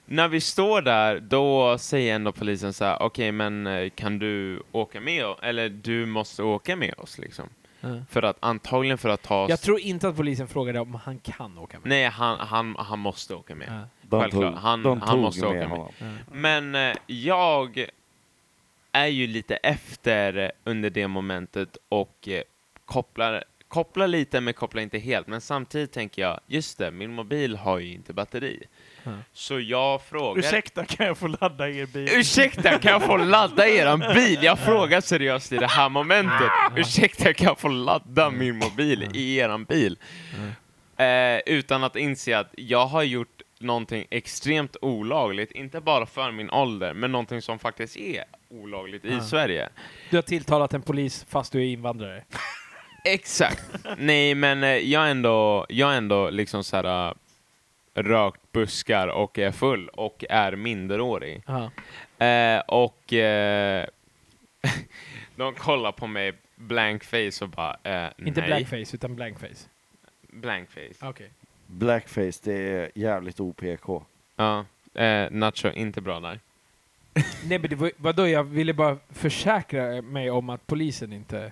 G: När vi står där, då säger ändå polisen så här, okej, men eh, kan du åka med oss? Eller du måste åka med oss liksom.
F: Ja.
G: För att antagligen för att ta oss...
F: Jag tror inte att polisen frågade om han kan åka med.
G: Nej, han, han, han måste åka med.
F: Ja.
D: De tog,
G: Självklart. Han-
D: de
G: han
D: tog
G: måste
D: med
G: åka med.
D: honom.
G: Men eh, jag är ju lite efter under det momentet och eh, kopplar, kopplar lite, men kopplar inte helt. Men samtidigt tänker jag, just det, min mobil har ju inte batteri.
F: Mm.
G: Så jag frågar...
C: Ursäkta, kan jag få ladda er bil?
G: Ursäkta, kan jag få ladda eran bil? Jag frågar seriöst i det här momentet. Ursäkta, kan jag få ladda min mobil i eran bil? Eh, utan att inse att jag har gjort någonting extremt olagligt, inte bara för min ålder, men någonting som faktiskt är olagligt i Sverige.
F: Du har tilltalat en polis fast du är invandrare.
G: Exakt. Nej, men eh, jag är ändå, jag är ändå liksom så här eh, rökt buskar och är full och är minderårig.
F: Ja.
G: Eh, och eh, de kollar på mig blank face och bara eh,
F: Inte
G: nej.
F: blackface, utan blankface.
G: Blank face.
F: Okej.
D: Blackface, det är jävligt OPK.
G: Ja. Eh, Nacho, inte bra där.
F: Nej, men det var, vadå, jag ville bara försäkra mig om att polisen inte...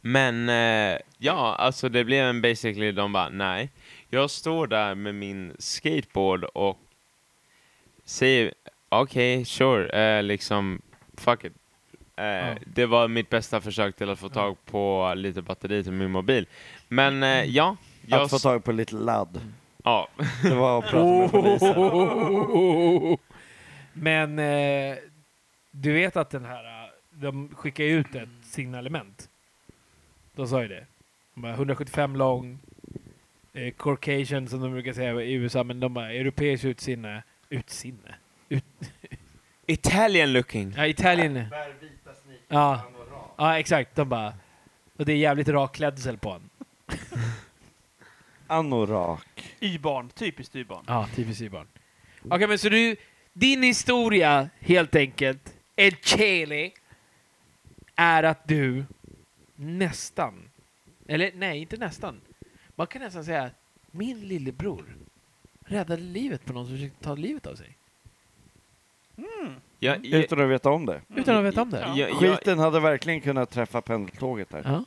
G: Men eh, ja, alltså det blev en basically, de bara nej. Jag står där med min skateboard och säger okej, sure, eh, liksom fuck it. Eh, Det var mitt bästa försök till att få tag på lite batteri till min mobil. Men eh, ja, jag...
D: Mm. Att få tag på lite ladd.
G: ja.
D: Det var att prata med polisen.
G: Oh.
F: Men eh, du vet att den här... eh, De skickar ju ut ett signalement. De sa ju det. De bara, 175 lång. Eh, Caucasian som de brukar säga i USA, men de bara europeiskt utsinne. Utsinne?
G: Italian looking.
F: Ja, Italien. Ja. ja, exakt. De bara... Och det är jävligt rak klädsel på honom.
D: Anorak.
C: Y-barn, typiskt Y-barn.
F: Ja, typiskt barn. Okej, men så du... Din historia, helt enkelt, El Chele, är att du nästan... Eller nej, inte nästan. Man kan nästan säga att min lillebror räddade livet på någon som försökte ta livet av sig.
G: Jag, jag,
D: Utan att veta om det.
F: Utan att veta om det.
G: jag, jag,
D: Skiten hade verkligen kunnat träffa pendeltåget där.
F: Ja.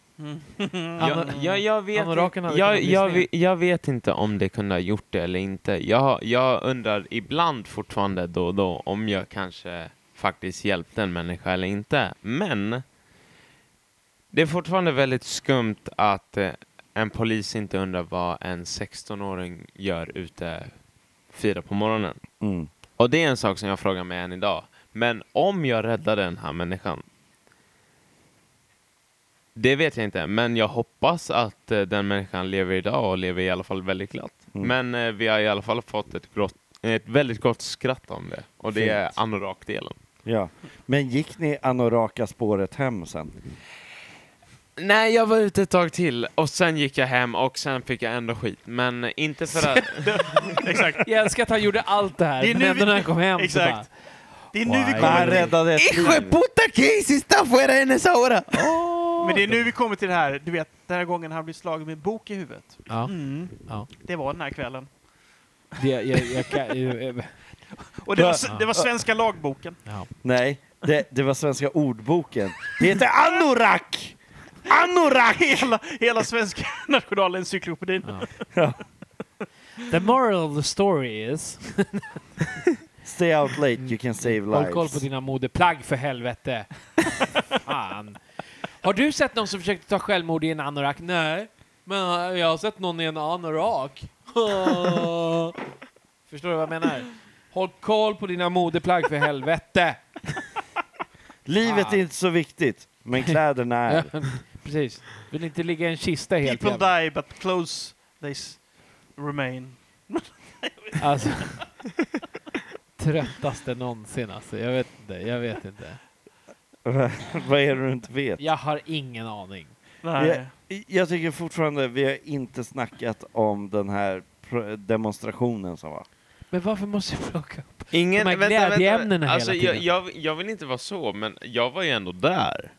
G: jag, jag, jag, vet,
F: Anoraken hade
G: jag,
F: kunnat
G: jag,
F: lyssna in.
G: vet- jag vet inte om det kunde ha gjort det eller inte. Jag, jag undrar ibland fortfarande då och då om jag kanske faktiskt hjälpte en människa eller inte. Men det är fortfarande väldigt skumt att eh, en polis inte undrar vad en 16-åring gör ute fyra på morgonen.
D: Mm.
G: Och det är en sak som jag frågar mig än idag. Men om jag räddar den här människan? Det vet jag inte, men jag hoppas att eh, den människan lever idag och lever i alla fall väldigt glatt.
D: Mm.
G: Men eh, vi har i alla fall fått ett, grått, ett väldigt gott skratt om det. Och det är
D: Fint.
G: anorakdelen.
D: Ja. Men gick ni anoraka spåret hem sen?
G: Nej, jag var ute ett tag till och sen gick jag hem och sen fick jag ändå skit. Men inte för att...
C: Exakt.
F: Jag älskar att han gjorde allt det här,
C: Det är
F: men
C: nu
F: ändå
C: vi-
F: när han kom hem
C: Exakt.
F: så bara...
C: Det är nu vi
F: Why?
C: kommer
D: Man
C: till,
D: räddade ett liv.
G: puta que hiciste fuera en esa hora!
C: men det är nu vi kommer till det här, du vet, den här gången han blir slagen med en bok i huvudet.
F: Ja.
C: Mm.
F: Ja.
C: Det var den här kvällen.
F: Det, jag, jag, kan- eh,
C: Och det var, s- det var svenska lagboken.
D: Nej, det, det var svenska ordboken. Det heter anorak! Anorak!
C: Hela, hela svenska nationalencyklopedin.
F: Ja.
I: The moral of the story is...
D: Stay out late, you can save
I: Håll koll på
D: lives.
I: dina modeplagg för helvete. Fan. Har du sett någon som försökte ta självmord i en anorak? Nej, men eh, jag har sett någon i en anorak. Förstår du vad jag menar? Håll koll på dina modeplagg för helvete.
D: Livet är inte så viktigt, men
I: Ah.
D: kläderna är.
I: Precis. Vill inte ligga i en kista helt
C: People
I: jävla.
C: die but clothes they s- remain.
I: Alltså. Tröttaste någonsin alltså. Jag vet inte. Jag vet inte.
D: Vad är det du inte vet?
I: Jag har ingen aning.
C: Nej.
D: Ja. Jag tycker fortfarande vi har inte snackat om den här pro- demonstrationen som var.
I: Men varför måste jag plocka upp?
G: Ingen,
I: De här glädjeämnena hela
G: Alltså, jag,
I: tiden.
G: jag, jag vill inte vara så, men jag var ju ändå där.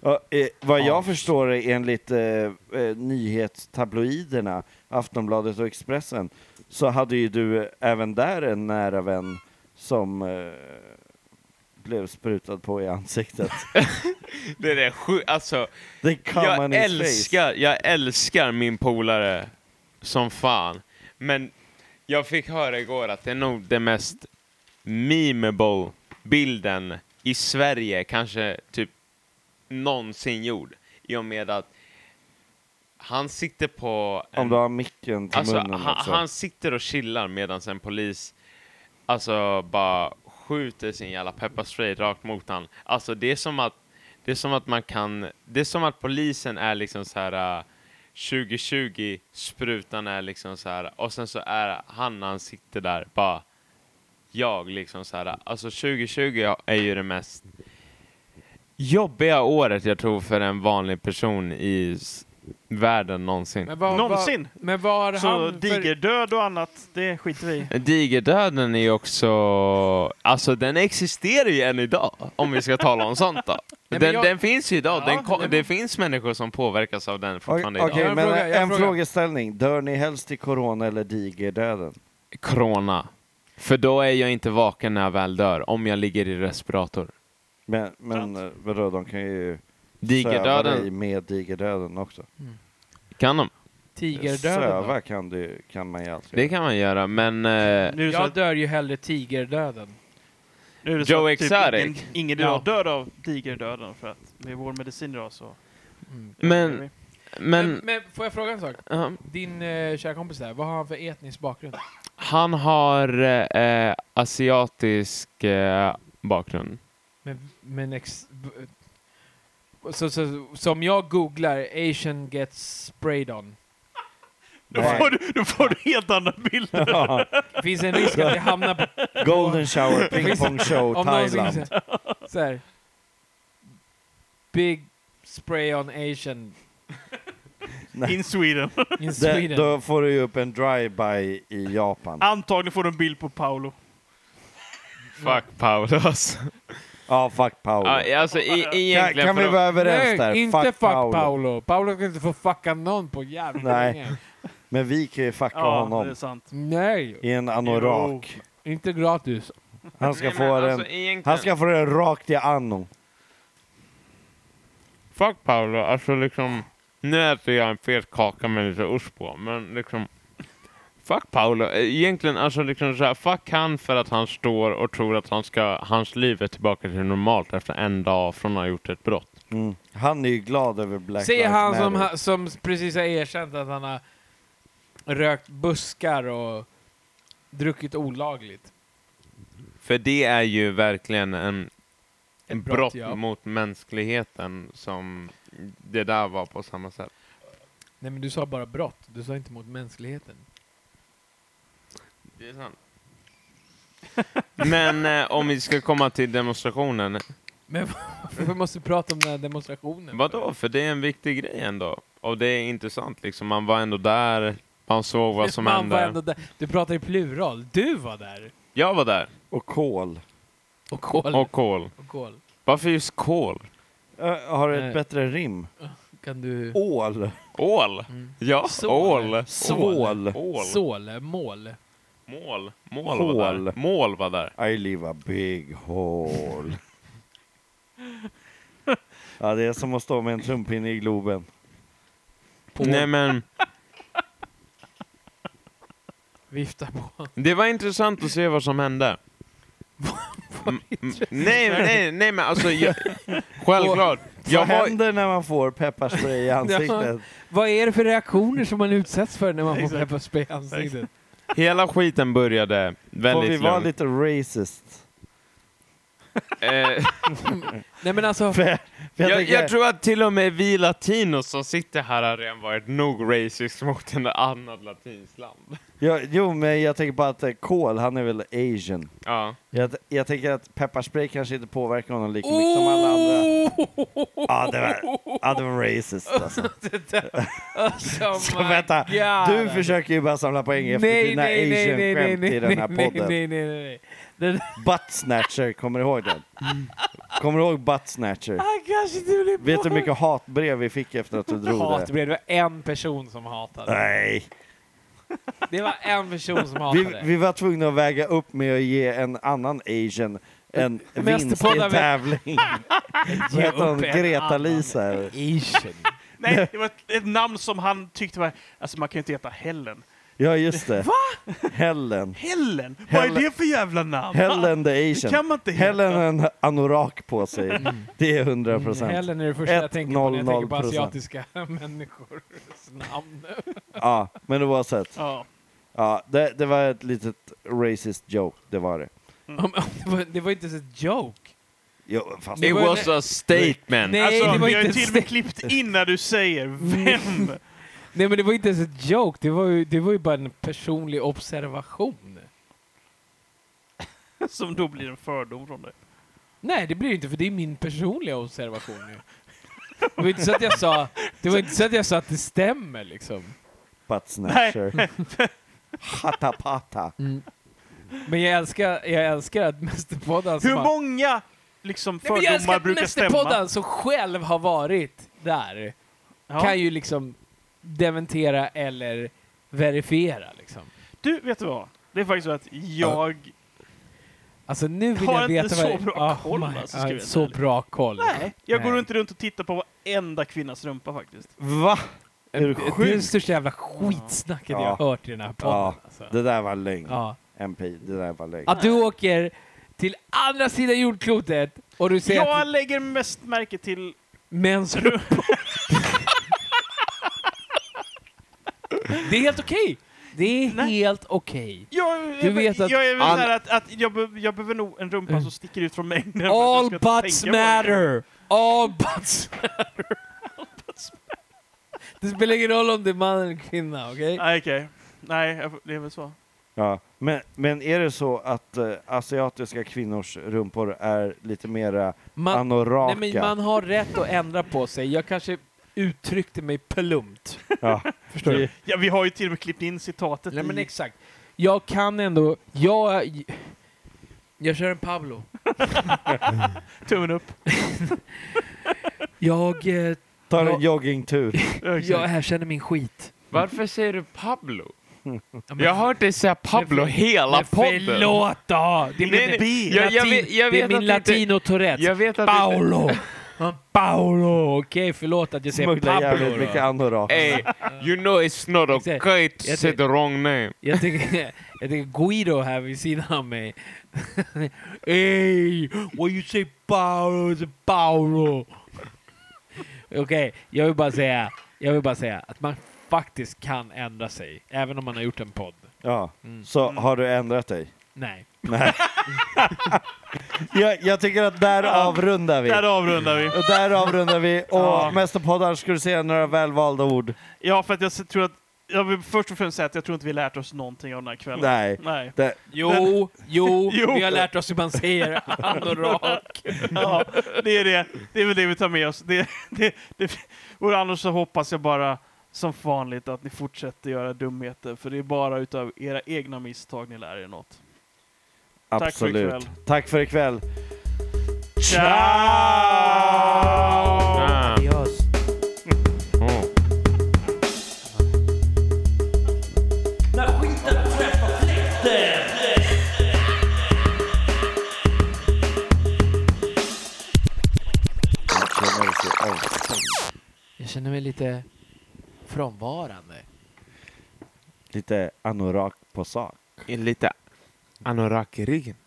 D: Och, eh, vad jag förstår är enligt eh, eh, nyhetstabloiderna, Aftonbladet och Expressen, så hade ju du eh, även där en nära vän som eh, blev sprutad på i ansiktet.
G: Det är det sju, alltså,
D: Det kan man
G: jag
D: i face.
G: älskar, jag älskar min polare som fan. Men jag fick höra igår att det är nog den mest memeable bilden i Sverige kanske typ någonsin gjord. I och med att han sitter på... en-
D: Om du har micken till
G: Alltså,
D: munnen
G: han,
D: också.
G: han sitter och chillar medan en polis alltså bara skjuter sin jävla pepparspray rakt mot han. Alltså det är som att det är som att man kan det är som att polisen är liksom så här äh, 2020 sprutan är liksom så här och sen så är han när han sitter där bara jag liksom så här äh, alltså 2020 är ju det mest jobbiga året jag tror för en vanlig person i s- världen någonsin.
F: Men vad,
C: Någonsin.
F: Vad, men vad har
C: Så
F: han för...
C: digerdöd och annat, det skiter vi i.
G: Digerdöden är ju också... Alltså den existerar ju än idag, om vi ska tala om sånt då.
F: men
G: Den,
F: jag-
G: den finns ju idag. Den, ko-
F: nej, men-
G: det finns människor som påverkas av den
D: Okej,
G: fortfarande idag.
D: okej,
F: Jag har en
D: men eh,
F: fråga, jag har
D: en,
F: en fråga.
D: frågeställning. Dör ni helst till corona eller digerdöden?
G: Krona. För då är jag inte vaken när jag väl dör, om jag ligger i respirator.
D: Men, men eh, vadå, de kan ju söva dig
G: Digerdöden,
D: med digerdöden också.
G: kan de?
I: Tigerdöden. då?
D: Söva kan, du, kan man ju alltid
G: Det kan man göra, men... Eh,
C: Nu är det så
I: Jag
C: att,
I: dör ju hellre tigerdöden.
C: nu är det så
G: Joe
C: att typ
G: Exotic.
C: ingen, ingen
I: Ja.
C: dör av digerdöden för att med vår medicin idag så...
G: men...
F: men,
G: men
F: Mm. men får jag fråga en sak?
G: ja,
F: Din eh, kära kompis där, vad har han för etnisk bakgrund?
G: han har eh, eh, asiatisk eh, bakgrund.
F: Men, men ex, b, så, så, som jag googlar, Asian gets sprayed on.
C: Då
D: Nej.
C: får, du, då får du helt andra bilder.
D: Ja,
F: Finns en risk att det hamnar på...
D: Golden shower, ping pong show,
F: Om någon skulle
D: Thailand.
F: säga så här, Big spray on Asian
D: Nej.
C: In Sweden.
F: in
D: Det,
F: Sweden. Ah.
D: då får du ju upp en drive-by i Japan.
C: Antagligen får du en bild på Paolo.
G: Fuck Paulus.
D: Ja, fuck Paolo.
G: Ja, alltså, i,
D: kan,
G: egentligen
D: kan vi
G: för-
D: vara överens
F: Nej,
D: där?
F: inte fuck, Paolo.
D: Paolo.
F: Paolo. ska inte få fucka någon på jävligt
D: Nej.
F: länge.
D: Men vi kan ju fucka
C: Ja, det är
D: honom
C: sant.
F: Nej,
D: i en anorak.
F: inte gratis.
D: Han ska,
G: Nej,
D: få
G: men
D: den,
G: alltså, egentligen-
D: han ska få den rakt i anno.
G: Fuck Paolo, alltså liksom... Nu äter jag en fet kaka med lite ost på, men liksom... Fuck Paolo. Egentligen, alltså liksom så här, fuck han för att han står och tror att han ska, hans liv är tillbaka till normalt efter en dag från att ha gjort ett brott.
D: Mm. Han är ju glad över Black
F: Säger
D: Lives
F: han
D: Matter.
F: som, ha- som precis har erkänt att han har rökt buskar och druckit olagligt.
G: För det är ju verkligen en, en
F: brott,
G: brott,
F: ja.
G: mot mänskligheten som det där var på samma sätt.
F: Nej men du sa bara brott, du sa inte mot mänskligheten.
G: Det är sant. men eh, om vi ska komma till demonstrationen.
F: Men varför måste vi prata om den här demonstrationen?
G: Vadå? För det är en viktig grej ändå. Och det är intressant liksom. Man var ändå där. Man såg vad som
F: Man
G: hände.
F: var ändå där. Du pratar i plural. Du var där.
G: Jag var där.
D: Och kol.
F: Och kol.
G: Och kol.
F: Och kol.
G: Varför just kol?
D: Ö, har du ett
F: Eh.
D: bättre rim?
F: Kan du...
D: Ål.
G: Ål? Ja,
F: Sål.
G: ål.
D: Svål.
G: Ål.
F: Såle, mål.
G: Mål. Mål var
D: Hål.
G: där. Mål var där.
D: I live a big hole. ja, det är som att stå med en trumpinne i Globen.
G: Nej men.
F: viftar på honom.
G: Det var intressant att se vad som hände. Mm, nej, nej, nej, men alltså... Jag, självklart. Jag
D: Vad
G: har,
D: händer när man får pepparspray i ansiktet?
F: Vad är det för reaktioner som man utsätts för när man får pepparspray i ansiktet?
G: hela skiten började
D: Får vi
G: väldigt
D: vara
G: lugnt.
D: lite racist?
G: Eh,
F: Nej men alltså,
D: För jag, för jag
G: jag,
D: tänker-
G: jag tror att till och med vi latinos som sitter här har redan varit nog racist mot en annat latinskt land.
D: Ja, jo, men jag tänker bara att eh, Cole, han är väl asian.
G: Ja.
D: Jag, jag tänker att pepparspray kanske inte påverkar honom lika mycket som alla andra.
F: Oh!
D: Ja, det var, ja, det var racist alltså.
F: alltså
D: Så vänta, du
F: God.
D: försöker ju bara samla poäng efter
F: nej,
D: dina
F: nej, nej, nej, nej,
D: asian-skämt i
F: nej,
D: den här
F: nej,
D: podden.
F: nej, nej, nej, nej.
D: Butt snatcher, kommer du ihåg den? Kommer du ihåg butt snatcher?
F: Han kanske inte blir
D: Vet du hur mycket hatbrev vi fick efter att du drog det?
F: hatbrev? Det var en person som hatade.
D: Nej.
F: Det var en person som
D: Vi,
F: hatade.
D: vi var tvungna att väga upp med att ge en annan asian en vinst i
F: Mästerpodden-
D: en tävling. Vad heter hon? Greta-Lisa?
F: Asian.
C: Nej, det var ett, ett namn som han tyckte var... Alltså man kan ju inte heta Helen.
D: Ja, just det. Helen.
C: Helen? Vad är
D: Helen.
C: det för jävla namn?
D: Helen the
C: Det kan
D: asian.
C: man inte heta. Mm.
D: Helen har en anorak på sig. Det är 100 procent.
F: Helen är det första jag
D: Ett,
F: tänker på när jag
D: noll,
F: tänker på
D: noll procent.
F: asiatiska människors namn.
D: Ja, men oavsett.
C: Ja.
D: Ja, det, det var ett litet racist joke, det var det.
F: Om- om det var- Det var inte ens ett joke.
D: Jo, fast
G: It was a statement.
F: Nej,
C: Alltså,
F: det var
C: vi har ju
F: inte
C: till
F: ens
C: och med klippt in när du säger vem.
F: Nej men det var inte ens ett joke, det var ju, det var ju bara en personlig observation.
C: Som då blir en fördom från dig.
F: Nej det blir det inte för det är min personliga observation ju. Det var inte så att jag sa, det var inte så att, jag sa att det stämmer liksom.
D: butt snatcher. Hatta patta.
F: Men jag älskar, jag älskar att Mästerpodden som
C: Hur
F: har-
C: många Alltså, liksom,
F: Nej, men jag älskar
C: fördomar
F: att
C: brukar stämma?
F: Mästerpodden som själv har varit där
C: Ja.
F: kan ju liksom dementera eller verifiera liksom.
C: Du, vet du vad? Det är faktiskt så att jag...
F: Alltså nu vill
C: Har
F: jag
C: inte
F: veta
C: så
F: vad-
C: bra
F: Ah,
C: koll,
F: my-
C: alltså,
F: ah,
C: ska vi vara
F: Så
C: ärliga.
F: bra koll.
C: Nej, jag går
F: Nej.
C: inte runt och tittar på varenda kvinnas rumpa faktiskt.
D: Va? Är du
F: Det är det
D: sjuk?
F: största jävla skitsnacket
D: Ja.
F: jag har hört i den här podden.
D: Ja.
F: Alltså.
D: Det där var lögn.
F: Ja.
D: MP, det där var lögn.
F: Att du åker till andra sidan jordklotet och du ser
C: Jag
F: att
C: lägger mest märke till
F: män som... det är helt okej. Det är
C: Nej.
F: helt okej.
C: Jag, jag,
F: Du vet att Mm.
C: jag är väl
G: all-
C: såhär att, att jag, be, jag behöver nog en rumpa som sticker ut från mängden. för att jag
F: All
C: ska
F: butts
C: tänka på det.
F: matter! All butts matter! Det spelar ingen roll om det är man eller kvinna, okej?
C: Nej, okej. Nej, jag får- det är väl så.
D: Ja. Men, men är det så att eh, asiatiska kvinnors rumpor är lite mera
F: Man-
D: anoraka?
F: Nej, men man har rätt att ändra på sig. Jag kanske uttryckte mig plumpt.
D: ja.
F: Förstår du?
C: Ja, vi har ju till och med klippt in citatet
F: Nej, men
C: i...
F: exakt. Jag kan ändå... Jag... Jag kör en Pablo.
C: Tummen upp.
F: Jag, eh,
D: Tar
F: Ja.
D: en joggingtur.
F: jag erkänner min skit.
G: Varför säger du Pablo? Jag har hört dig säga Pablo
F: Men för-
G: hela
F: Men
G: podden.
F: Förlåt då! Det är min,
G: Nej, nej,
F: latin,
G: jag- jag vet- jag
F: det är
G: vet
F: min
G: att det inte-
F: latino Tourette.
G: Jag vet att det inte...
F: Paolo! Ja, Paolo! Okej, förlåt att jag säger
D: Smugglar
F: Pablo.
D: jävligt
F: då. Eh.
D: mycket anoraka.
G: Hey, you know it's not
F: Exakt.
G: okay to
F: Jag
G: say
F: tror-
G: the wrong name.
F: Jag tänker, jag tänker Guido här vid sidan av mig. Ey, what you say Paolo, it's Paolo. Okej, jag vill bara säga, jag vill bara säga att man faktiskt kan ändra sig, även om man har gjort en podd.
D: Ja.
F: Mm.
D: Så har du ändrat dig?
F: Nej.
D: Jag, jag tycker att där avrundar vi.
C: Där avrundar vi.
D: Och Där avrundar vi. Och
C: Ja.
D: Mästerpoddar, ska du säga några välvalda ord?
C: Ja, för att jag s- tror att... Jag vill först och främst säga att jag tror inte vi lärt oss någonting av den här kvällen.
D: Nej.
C: Nej.
D: Det,
F: Jo, jo,
C: Jo.
F: vi har lärt oss hur man säger anorak.
C: Ja, det är det. Det är väl det vi tar med oss. Det, det, det. Och annars så hoppas jag bara som vanligt att ni fortsätter göra dumheter, för det är bara utav era egna misstag ni lär er något. för
D: absolut.
C: ikväll.
D: Tack för ikväll.
G: Ah.
E: Adios.
G: Oh.
F: Jag känner mig lite frånvarande.
D: lite anorak på sak.
G: Lite anorak i ryggen.